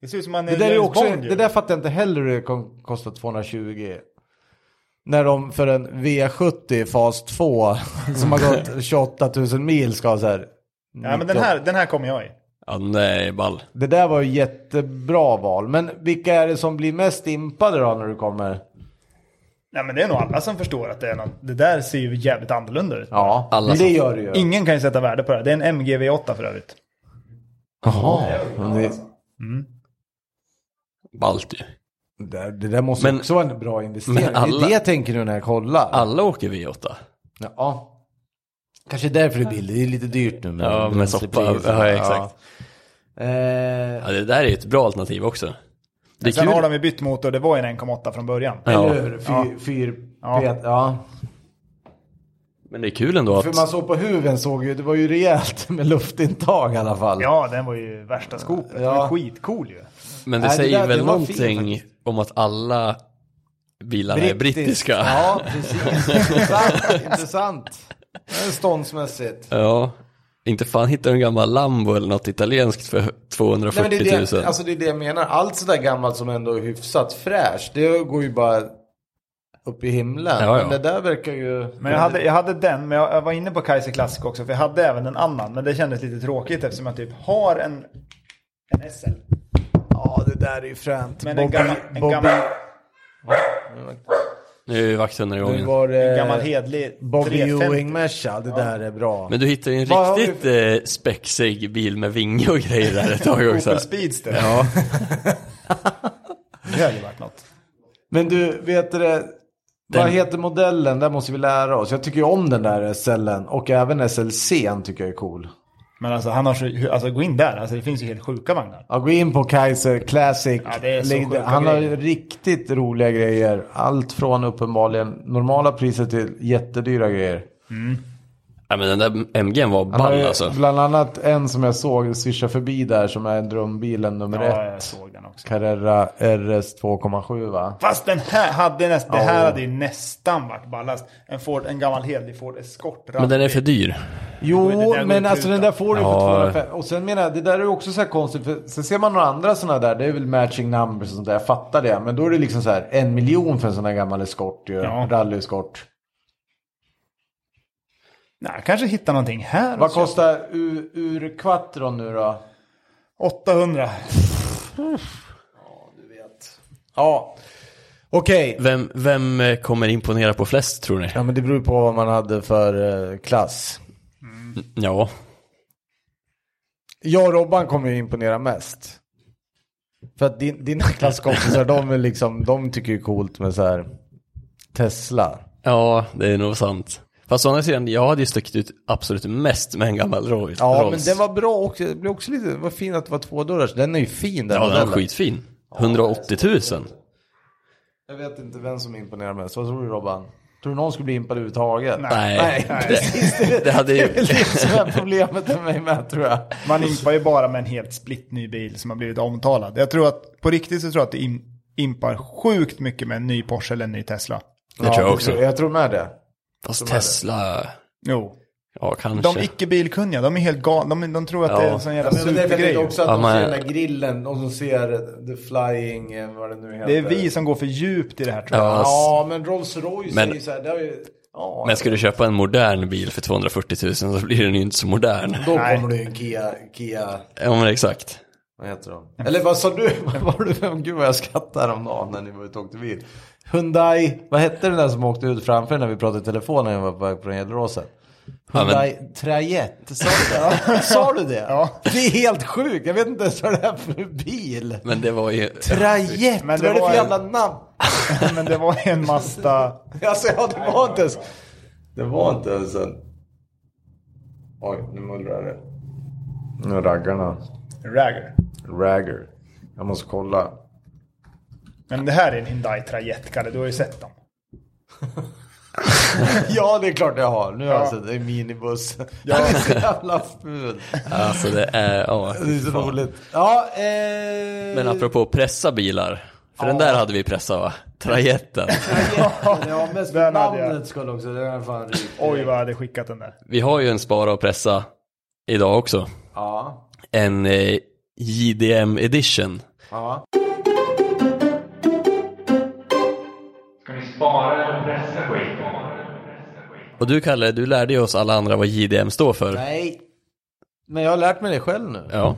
C: Det ser ut som en
A: Det där, är ju
C: James
A: också,
C: Bond ju.
A: det där fattar jag inte heller hur det kom- kostar 220. När de för en V70 fas 2 som har gått 28 000 mil ska ha så här.
C: Ja, men den här, den här kommer jag i.
B: Ja den där är ball.
A: Det där var ju jättebra val. Men vilka är det som blir mest impade då när du kommer?
C: Nej, men det är nog alla som förstår att det är någon. Det där ser ju jävligt annorlunda ut.
A: Ja,
B: Alla
A: men det
B: som-
A: gör det ju.
C: Ingen kan ju sätta värde på det här. Det är en MG V8 för övrigt.
A: Jaha. men Det,
B: Ballt ju.
A: det, där- det där måste
B: Men-
A: också vara en bra investering.
B: men alla-
A: Det är det jag tänker nu när jag kollar.
B: Alla åker V8.
A: Ja. Kanske därför det är billigt. Det är lite dyrt nu. med
B: Ja, med
A: bränslepriser.
B: soppa. Ja, exakt.
A: Ja. Eh,
B: Ja det där är ju ett bra alternativ också. Det är
C: Sen har
B: kul.
C: de ju bytt motor. Det var ju en 1,8 från början.
A: eller
B: Ja,
A: hur? Fyr,
C: Ja.
A: fyr,
C: Ja.
A: pet- ja.
B: men det är kul ändå
A: För
B: att
A: man såg på huven såg ju, det var ju rejält med luftintag i alla fall.
C: Ja, den var ju värsta skopet. Den
A: Ja.
C: var skitcool ju.
B: Men
A: Nej,
B: det
A: det
B: säger
A: där-
B: väl
A: det var fint
B: någonting om att alla bilarna är
A: Brittiskt.
B: brittiska?
A: Ja, precis. intressant. intressant. Det är Ståndsmässigt.
B: Ja. Inte fan hittar du en gammal Lambo eller något italienskt för 240
A: Nej,
B: 000.
A: men det, är det, alltså det är det jag menar. Allt sådär gammalt som ändå är hyfsat fräscht, det går ju bara upp i himlen.
B: Ja, ja.
A: Men det där verkar ju...
C: Men jag hade, jag hade den, men jag jag var inne på Kaiser Classic också, för jag hade även en annan. Men det kändes lite tråkigt eftersom jag typ har en, en SL.
A: Ja, det där är ju fränt.
C: Men en
A: Bobby,
C: gammal, en
A: Bobby,
C: gammal,
B: Nu är vakthundar
A: nu
B: igång.
A: var det
C: en gammal hedlig
A: eh, Bobby
C: 350.
A: Ewing Mesha, det där är bra.
B: Men du hittar ju en
A: Vad har
B: riktigt eh, spexig bil med vinge och grejer där ett tag också.
C: Opel Speedster. Ja. det hade ju varit något.
A: Men du, vet du det? Vad heter modellen? Där måste vi lära oss. Jag tycker ju om den där SLen och även SLC tycker jag är cool.
C: Men alltså, han har så, alltså gå in där, alltså det finns ju helt sjuka vagnar.
A: Ja, gå in på Kaiser Classic.
C: Ja, det är så
A: Lägg-
C: sjuka
A: Han har
C: grejer.
A: riktigt roliga grejer. Allt från uppenbarligen normala priser till jättedyra grejer.
B: Ja, men den där MG'n var
A: Han har
B: ball
A: ju
B: alltså.
A: bland annat en som jag såg swisha förbi där som är drömbilen nummer
C: Ja,
A: ett.
C: jag såg den också.
A: Carrera RS 2,7 va?
C: Fast den här hade näst, det
A: Ja.
C: här hade ju nästan varit ballast. En, Ford, en gammal hedlig Ford Escort.
B: Men den är för dyr.
A: Jo,
C: Det där går
A: men
C: ju
A: alltså
C: inte
A: den där får du ju för
B: Ja.
A: 205. Och sen menar jag, det där är ju också så här konstigt. För sen ser man några andra sådana där. Det är väl matching numbers och sånt där. Jag fattar det. Men då är det liksom så här en miljon för en sån där gammal eskort ju.
C: Ja.
A: Rallyeskort.
C: Nej, kanske hitta någonting här.
A: Vad kostar ur, ur quattron nu då?
C: 800.
A: Ja. Okej.
B: Vem, vem eh, kommer imponera på flest tror ni?
A: Ja men det beror ju på vad man hade för eh, klass.
B: Ja,
A: Jag och Robban kommer ju imponera mest. För att din, dina klasskompisar de är liksom, de tycker ju coolt med så här Tesla.
B: ja det är nog sant. Fast å andra sidan, jag hade ju stuckit ut absolut mest med en gammal Roy- Rolls.
A: Ja, men den var bra också. Det blev också lite, det var fint att det var två dörrar. så Den är ju fin den
B: Ja, den
A: modellen.
B: var skitfin. 180 000.
A: Jag vet inte vem som imponerar mest. Vad tror du Robban? Tror du någon skulle bli impad överhuvudtaget?
B: Nej.
A: Nej,
C: Nej.
A: precis. Det,
B: Det hade
A: det är väl
B: ju...
A: det som är problemet med mig med tror jag.
C: Man impar ju bara med en helt splittny bil som har blivit omtalad. Jag tror att, på riktigt så tror jag att det im- impar sjukt mycket med en ny Porsche eller en ny Tesla.
B: Det tror jag också.
A: Jag tror med det.
B: Fast Tesla...
C: Jo.
B: Ja, kanske.
C: De icke-bilkunniga, de är helt galna. De, de tror att
B: Ja.
C: det är en sån jävla
A: Men jag
C: supergrej.
A: tänkte också att
B: Ja,
A: de
B: men-
A: ser den där grillen, de som ser the flying, eh, vad det nu heter.
C: Det är vi som går för djupt i det här tror jag.
B: Ja,
A: Ja, men Rolls Royce
B: Men-
A: är ju så här, det har ju... Ja,
B: Men ska du köpa en modern bil för 240 000 så blir den ju inte så modern.
A: då
C: Nej.
A: kommer det ju en Kia, Kia,
B: Ja men exakt.
A: vad heter de? Eller vad sa du? Vad var det för, gud vad jag skrattade häromdagen när ni var ute och åkte bil. Hyundai, vad hette den där som åkte ut framför när vi pratade i telefon när jag var på väg från Gelleråsen?
B: men-
A: Hyundai Trajett, sa du det? Sa du det?
C: Ja.
A: Det är helt sjukt, jag vet inte ens vad det är för bil.
B: Men det var ju...
A: Trajett, vad
C: Men det
A: är det
C: var
A: för
C: en-
A: jävla namn?
C: Men det var en Mazda...
A: Alltså ja, det var inte ens... Det var inte ens en... Oj, nu mullrar det. Nu raggarna.
C: Ragger.
A: Ragger. Jag måste kolla.
C: Men det här är en Hyundai Trajett, Kalle. Du har ju sett dem.
A: Ja, det är klart jag har. Nu har jag
C: Ja.
A: sett en minibuss. Ja. Den är så jävla ful.
B: Alltså det är... Ja.
A: Det är så roligt. Ja, eh...
B: Men apropå att pressa bilar. För den där hade vi pressat va? Trajetten.
A: Jätten, ja, mest för
C: Den hade jag.
A: namnet skulle också. Den är fan rik.
C: Oj, vad jag hade skickat den där.
B: Vi har ju en spara och pressa idag också.
A: Ja.
B: En eh, JDM edition.
A: Ja.
D: Ska ni spara eller pressa skiten?
B: Och du Kalle, du lärde ju oss alla andra vad JDM står för.
A: Nej. Men jag har lärt mig det själv nu.
B: Ja,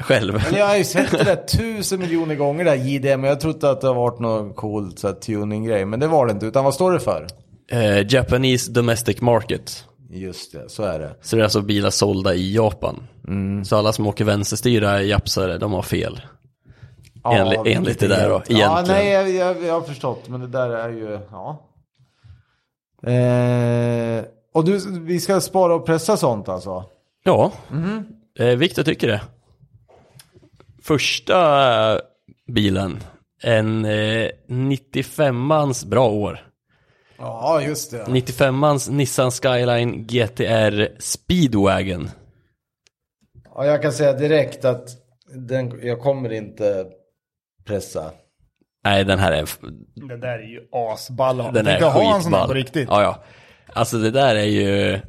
B: själv.
A: Eller jag har ju sett det där tusen miljoner gånger det där JDM. Jag trodde att det har varit någon cool så här, tuning-grej. Men det var det inte. Utan vad står det för?
B: Eh, Japanese Domestic Market.
A: Just det, så är det.
B: Så det är alltså bilar sålda i Japan. Så alla som åker vänsterstyra japsare, de har fel. Enli- enligt det där då,
A: Ja,
B: egentligen.
A: nej, jag, jag, jag har förstått. Men det där är ju, ja. Eh, och du, vi ska spara och pressa sånt alltså?
B: Ja, eh, Victor tycker det. Första eh, bilen, en eh, 95ans bra år.
A: Ja, just det.
B: 95ans Nissan Skyline GTR Speedwagon.
A: Ja, jag kan säga direkt att den, jag kommer inte pressa.
B: Nej, den här är,
C: Den där är ju asball.
B: den är
C: Jag ha en sån där
B: skitball.
C: på riktigt.
B: Ja, ja. Alltså det där är ju,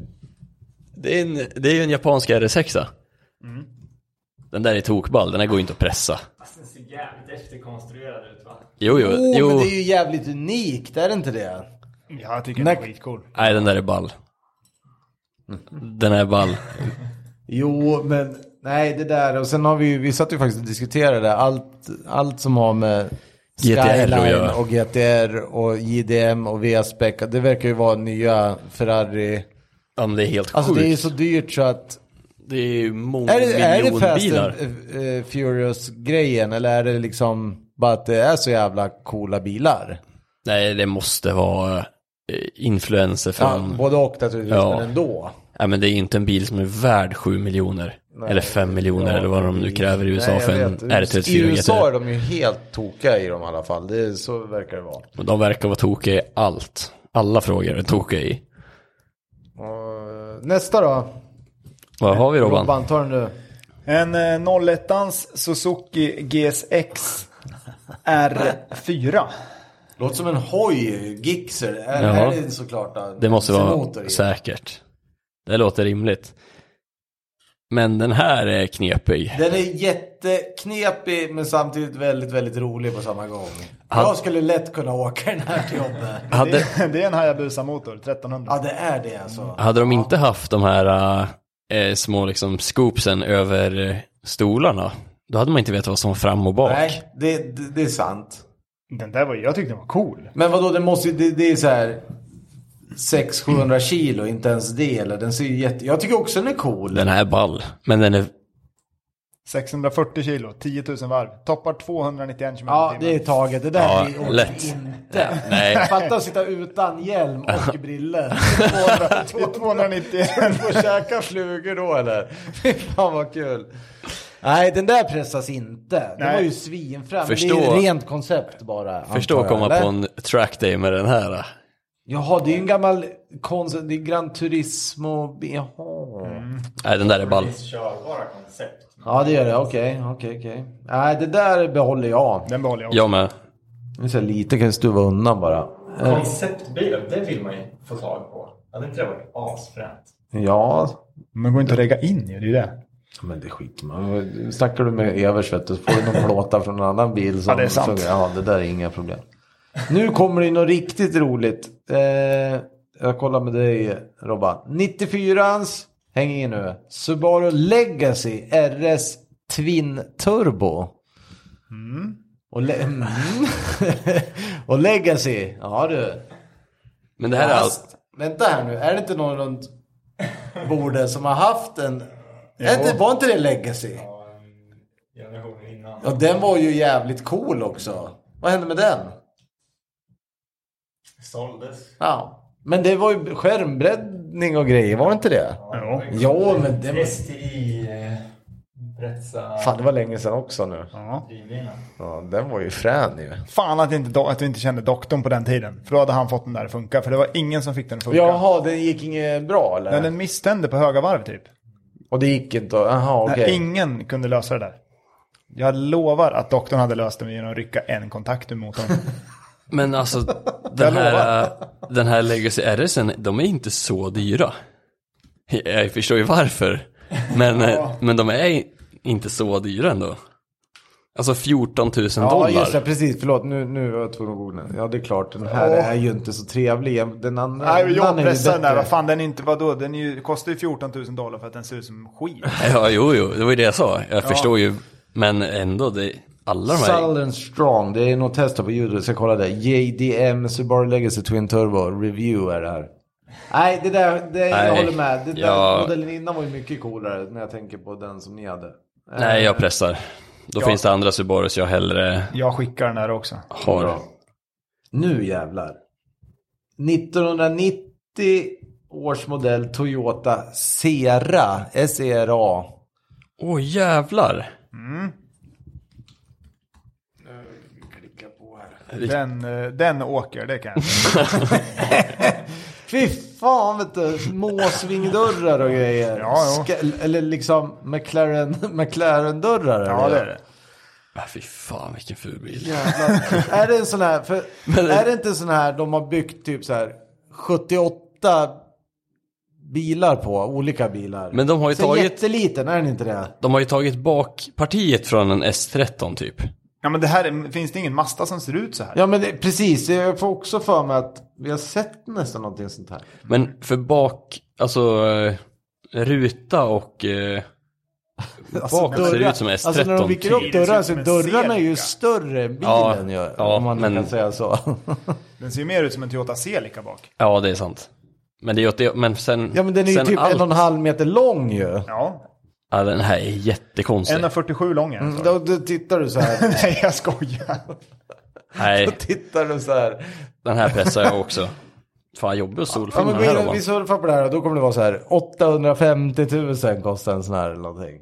B: det är, en, det är ju en japansk RS6.
A: Mm.
B: Den där är tokball, den här går ju inte att pressa.
D: Fast den ser jävligt efterkonstruerad ut va?
B: Jo, jo,
A: Oh,
B: jo.
A: men det är ju jävligt unikt, är det inte det?
C: Ja, jag tycker den är
A: Nej.
C: skitcool.
B: Nej, den där är ball. Den är ball.
A: Jo, men nej det där. Och sen har vi ju, vi satt ju faktiskt och diskuterade det. Allt, allt som har med
B: GTR att göra.
A: och GTR och JDM och V-spec. Det verkar ju vara nya Ferrari.
B: Ja, men det är helt
A: Alltså
B: sjukt.
A: det är ju så dyrt så att.
B: Det är ju
A: Är det, är det Fast
B: mångmiljonbilar.
A: and eh, Furious-grejen eller är det liksom bara att det är så jävla coola bilar?
B: Nej, det måste vara eh, influencer
A: Ja,
B: från...
A: både och naturligtvis,
B: Mm. Ja.
A: men ändå.
B: Nej, men det är inte en bil som är värd 7 miljoner. eller 5 miljoner eller vad de nu kräver i USA
A: Nej, jag
B: för en
A: vet.
B: R34
A: I USA är
B: GT.
A: de ju helt tokiga i dem i alla fall. Det är, så verkar det vara.
B: Och de verkar vara tokiga i allt. Alla frågor är tokiga i.
A: Och, nästa då.
B: Vad har vi Robban?
A: Robban, ta den du.
C: En eh, 01ans Suzuki GSX R4.
A: Låter som en hoj, Gixxer. Är,
B: Jaha.
A: är det såklart. då?
B: Det måste
A: Sen
B: vara
A: motor i.
B: säkert. Det låter rimligt. Men den här är knepig.
A: Den är jätteknepig men samtidigt väldigt, väldigt rolig på samma gång.
B: Han-
A: Jag skulle lätt kunna åka den här till jobbet.
B: Hade,
C: Det, det är en Hayabusa-motor, 1300.
A: Ja, det är det alltså.
B: Hade de inte haft de här eh, små liksom scoopsen över eh, stolarna, då hade man inte vetat vad som var fram och bak.
A: Nej, det, det, det är sant.
C: Den där var, jag tyckte den var cool.
A: Men vadå, det måste ju- det, det är så här 600-700 kilo, inte ens det. Eller den ser ju jätte... Jag tycker också den är cool.
B: Den här är ball, men den är,
C: 640 kilo, 10 000 varv. Toppar 291 km
A: Ja, det är taget. Det där
B: Ja,
A: blir åker
B: lätt.
A: inte.
B: Nej.
A: Fatta att sitta utan hjälm och briller. 200
C: 291.
A: Får käka flugor då eller? Fy fan vad kul. Nej, den där pressas inte. Den
C: Nej.
A: var ju svinfram.
B: Förstå-
A: Det är ju rent koncept bara.
B: förstå
A: antar
B: att
A: jag,
B: komma
A: eller?
B: på en track day med den här.
A: Jaha, det är ju en gammal konst, det är Gran Turismo. Jaha.
B: Nej, den där är ball.
D: Visst körbara koncept.
A: Ja, det gör det. Okej, okej, okej. Nej, det där behåller jag.
C: Den behåller jag också.
B: Jag med.
A: Nu är så här lite kan jag stuva undan bara. Eh,
D: Konceptbilar, det vill man ju få tag på. Hade inte det varit asfränt?
A: Ja,
C: Men går inte att lägga in ju, det är ju det.
A: men det skiter man Snackar du med Evers vet du, så får du någon plåta från en annan bil. Som,
C: Ja, det är sant.
A: som- ja, det där är inga problem. Nu kommer det in något riktigt roligt. Eh, jag kollar med dig Robban. 94ans, häng i nu. Subaru Legacy RS Twin Turbo. Och, le- mm. och Legacy, ja du.
B: Men det här är allt.
A: Fast, vänta här nu, är det inte någon runt bordet som har haft en... Är inte, var inte det Legacy?
D: Ja, en Generationen innan.
A: Ja, den var ju jävligt cool också. Vad hände med den?
D: Såldes.
A: Ja. Men det var ju skärmbreddning och grejer, var det inte det?
C: Ja.
A: Ja, men det var...
D: STI... eh, Bretsa...
A: Fan, det var länge sedan också nu.
C: Ja.
D: drivlinan.
A: Ja, den var ju frän ju.
C: Fan att, inte, do- att vi inte kände doktorn på den tiden. För då hade han fått den där att funka. För det var ingen som fick den att funka.
A: Jaha, den gick inget bra eller?
C: Men den misstände på höga varv typ.
A: Och det gick inte? och- Jaha, okej.
C: Nej, Ingen kunde lösa det där. Jag lovar att doktorn hade löst det genom att rycka en kontakt ur motorn.
B: Men alltså, den här, eh, den här Legacy RSen, de är inte så dyra. Jag förstår ju varför. Men, eh, men de är inte så dyra ändå. Alltså 14 000
A: Ja,
B: dollar.
A: just det. Precis. Förlåt, nu, nu var jag tvungen att googla. Ja, det är klart. Den här
C: Ja.
A: är ju inte så trevlig. Den andra
C: Nej,
A: den
C: jag
A: andra är ju
C: pressade den där.
A: bättre.
C: Vad fan, den är inte, vadå? Den är ju, kostar ju 14 000 dollar för att den ser ut som skit.
B: Ja, jo, jo, det var ju det jag sa. Jag förstår ju. Men ändå, det, alla de här.
A: Southern Strong. Det är något test här på YouTube. Jag ska kolla det. JDM Subaru Legacy Twin Turbo Review är det här. Nej, det där. Det, jag
B: Nej,
A: håller med. Det där
B: jag-
A: modellen innan var ju mycket coolare när jag tänker på den som ni hade.
B: Nej, jag pressar. Då finns det andra Subarus jag hellre
C: Jag skickar den där också.
B: har.
A: Nu jävlar. 1990 års modell Toyota E Sera. S-E-R-A.
B: Åh jävlar.
C: Den, eh, den åker, det kan jag säga.
A: Fy fan vet du, måsvingdörrar och grejer.
C: Ja, jo.
A: Ska- eller liksom McLaren, McLaren-dörrar.
C: Ja,
A: eller?
C: det är det.
B: Ah, fy fan vilken ful bil.
A: Jävlar. är det en sån här, för,
B: Men-
A: är det inte en sån här de har byggt typ så här 78 bilar på, olika bilar.
B: Men de har ju
A: så
B: tagit-
A: jätteliten, är den inte det?
B: De har ju tagit bakpartiet från en S13 typ.
C: Ja, men det här, är- finns det ingen Mazda som ser ut så här?
A: Ja men det, precis, jag får också för mig att vi har sett nästan någonting sånt här.
B: Men för bak, alltså eh, ruta och eh, bak ser det ut som S13.
A: alltså när de viker upp
C: Det ser ut
A: dörrar så
C: som en
A: dörrarna är ju
C: Celica.
A: större än bilen
B: Ja,
A: gör.
B: ja,
A: om man
B: men-
A: kan säga så.
C: Den ser ju mer ut som en Toyota Celica bak.
B: Ja, det är sant. Men det är åt det, men sen...
A: Ja men den är ju
B: sen
A: typ
B: allt-
A: en och en halv meter lång ju.
C: Ja,
B: Ja, den här är jättekonstig.
C: 1,47 lång är den. sa jag.
A: Mm, Då, då tittar du så här.
C: Nej, jag skojar.
B: Nej,
A: tittar du så här.
B: den här pressar jag också. Fan, jobbig och
A: Ja,
B: solfilm
A: men gå
B: den här
A: in och
B: Robban.
A: vi surfar på det här och då kommer det vara så här. 850 000 kostar en sån här eller någonting.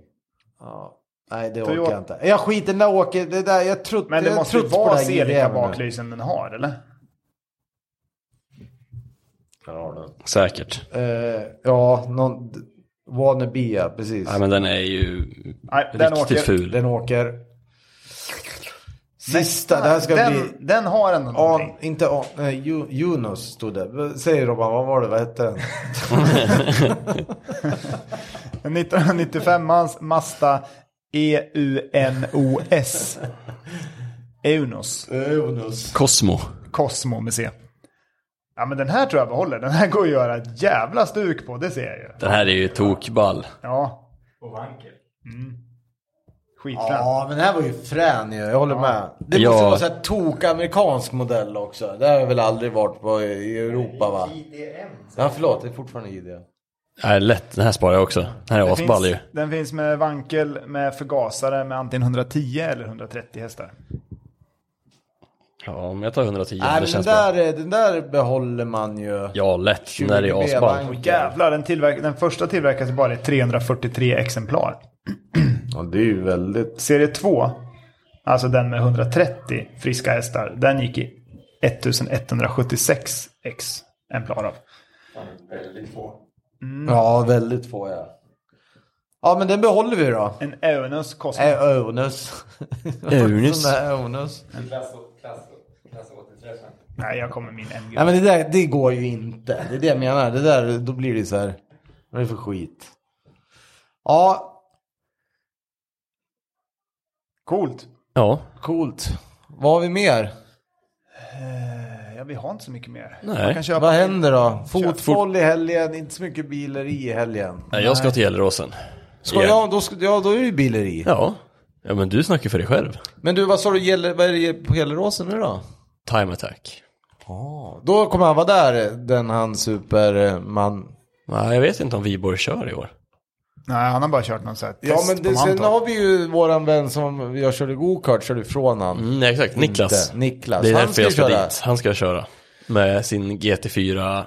A: Ja. Nej det orkar jag inte. Jag skiter den där åker. Det där, jag trott,
C: Men det
A: jag
C: måste ju
A: trott på
C: vara
A: det här
C: Celica
A: JVM nu.
C: baklysen den har, eller?
B: Säkert.
A: Eh, ja, någon d- wannabe ja, precis.
B: Nej, men den är ju
C: Nej, den
B: riktigt
C: åker.
B: ful.
A: Den åker. Sista, det här ska
C: den,
A: bli.
C: Den har ändå
A: An,
C: någonting.
A: inte An, nej, Ju- Junos stod det. Säg Robban, vad var det, vad hette den?
C: En 1995-mans Mazda E E-U-N-O-S. Eunos.
A: Junos.
B: Cosmo.
C: Cosmo med C. Ja men den här tror jag behåller. Den här går att göra ett jävla stuk på, det ser jag ju.
B: Den här är ju tokball.
C: Ja,
D: Och vankel.
C: skitfränt.
A: Ja, men den här var ju frän ju. Jag håller med. Det
B: Ja.
A: måste vara så här tok-amerikansk modell också. Det har jag väl aldrig varit på i i Europa va?
D: IDM.
A: Ja, förlåt. Det är fortfarande idé.
B: Nej, lätt. Den här sparar jag också. Den här är
C: Den
B: asball
C: finns,
B: ju.
C: den finns med vankel, med förgasare, med antingen 110 eller 130 hästar.
B: Ja, men jag tar 110.
A: Nej,
B: det
A: men den
B: känns bra.
A: där, den där behåller man ju.
B: Ja, lätt. Den där är ju
A: 20
B: asball.
A: B-vagn.
C: Jävlar, den, tillverk- den första tillverkas bara i 343 exemplar.
A: Ja, det är ju väldigt...
C: Serie 2, alltså den med 130 friska hästar, den gick i 1176 ex. en plan av.
D: Fan, Väldigt få.
A: Ja, väldigt få ja. Ja, men den behåller vi då.
C: En Eunus kostar...
A: Ä- Öunus.
B: Öunus.
A: Sån där Öunus.
D: Klass, klass, klass återträffen.
C: Nej, jag kommer med min MG.
A: Nej men det där, det går ju inte. Det är det jag menar. Det där, då blir det så här. Vad är det för skit? Ja,
C: Coolt.
B: Ja,
A: coolt. Vad har vi mer?
C: Eh, Ja, vi har inte så mycket mer.
B: Nej.
C: Man kan köpa
A: Vad händer då? Fotboll i helgen, inte så mycket bileri i helgen.
B: Nej, jag ska till Gelleråsen.
A: Ska
B: Igen.
A: jag, då, ska- ja, då är det ju bileri.
B: Ja. ja, men du snackar för dig själv.
A: Men du, vad sa du, gäller, vad är det på Gelleråsen nu då?
B: Time attack.
A: Då kommer han vara där, den han superman.
B: Nej, jag vet inte om Viborg kör i år.
C: Nej, han har bara kört någon sån här test
A: Ja men det,
C: på
A: sen
C: Mantorp.
A: har vi ju våran vän som jag körde gokart, körde ifrån han.
B: Mm, nej, exakt. Niklas.
A: Inte. Niklas.
B: Det är
A: Han
B: därför jag
A: ska
B: ska
A: köra.
B: dit. Han ska köra. Med sin GT4.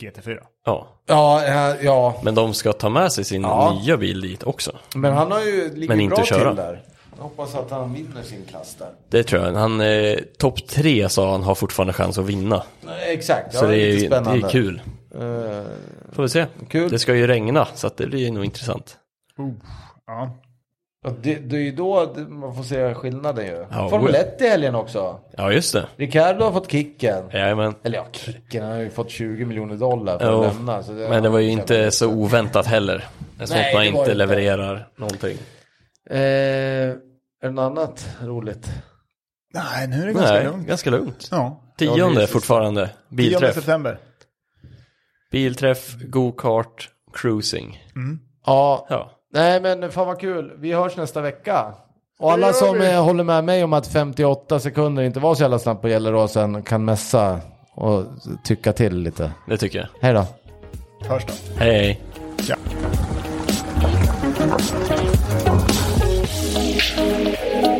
C: GT4.
B: Ja.
A: Ja, ja, ja.
B: Men de ska ta med sig sin
A: Ja.
B: nya bil dit också.
A: men han har ju, ligger
B: Men inte
A: bra
B: köra.
A: till där. Jag hoppas att han vinner sin klass där.
B: Det tror jag. Han, eh, topp tre sa han har fortfarande chans att vinna.
A: Exakt, ja,
B: Så det, är,
A: lite
B: ju- det
A: spännande.
B: är kul.
A: Eh,
B: Får vi se.
A: Kul.
B: Det ska ju regna, så att det blir nog intressant.
C: Ja.
A: och det, det är ju då man får se skillnaden ju.
B: Ja,
A: Formel
B: oj.
A: 1 i helgen också.
B: Ja, just det.
A: Ricardo har fått kicken.
B: Jajamän.
A: Eller ja, kicken. Han har ju fått 20 miljoner dollar för
B: Jo,
A: att lämna. Så
B: Men det var ju inte så oväntat heller. Så
A: Nej, det
B: att man
A: var
B: inte
A: inte.
B: levererar någonting.
A: Eh, är det något annat roligt?
C: Nej, nu är det ganska
B: Nej,
C: lugnt.
B: ganska lugnt.
C: Ja.
A: Ja, det
B: Tionde
A: är-
B: fortfarande.
C: 10
B: Bilträff.
C: september.
B: Bilträff, go-kart, cruising.
A: Ja,
B: Ja.
A: nej men fan vad kul. Vi hörs nästa vecka. Och alla som eh, håller med mig om att 58 sekunder inte var så jävla snabbt på Gelleråsen kan messa och tycka till lite.
B: Det tycker jag.
A: Hej då.
C: Hörs då.
B: Hej, hej.
C: Tja.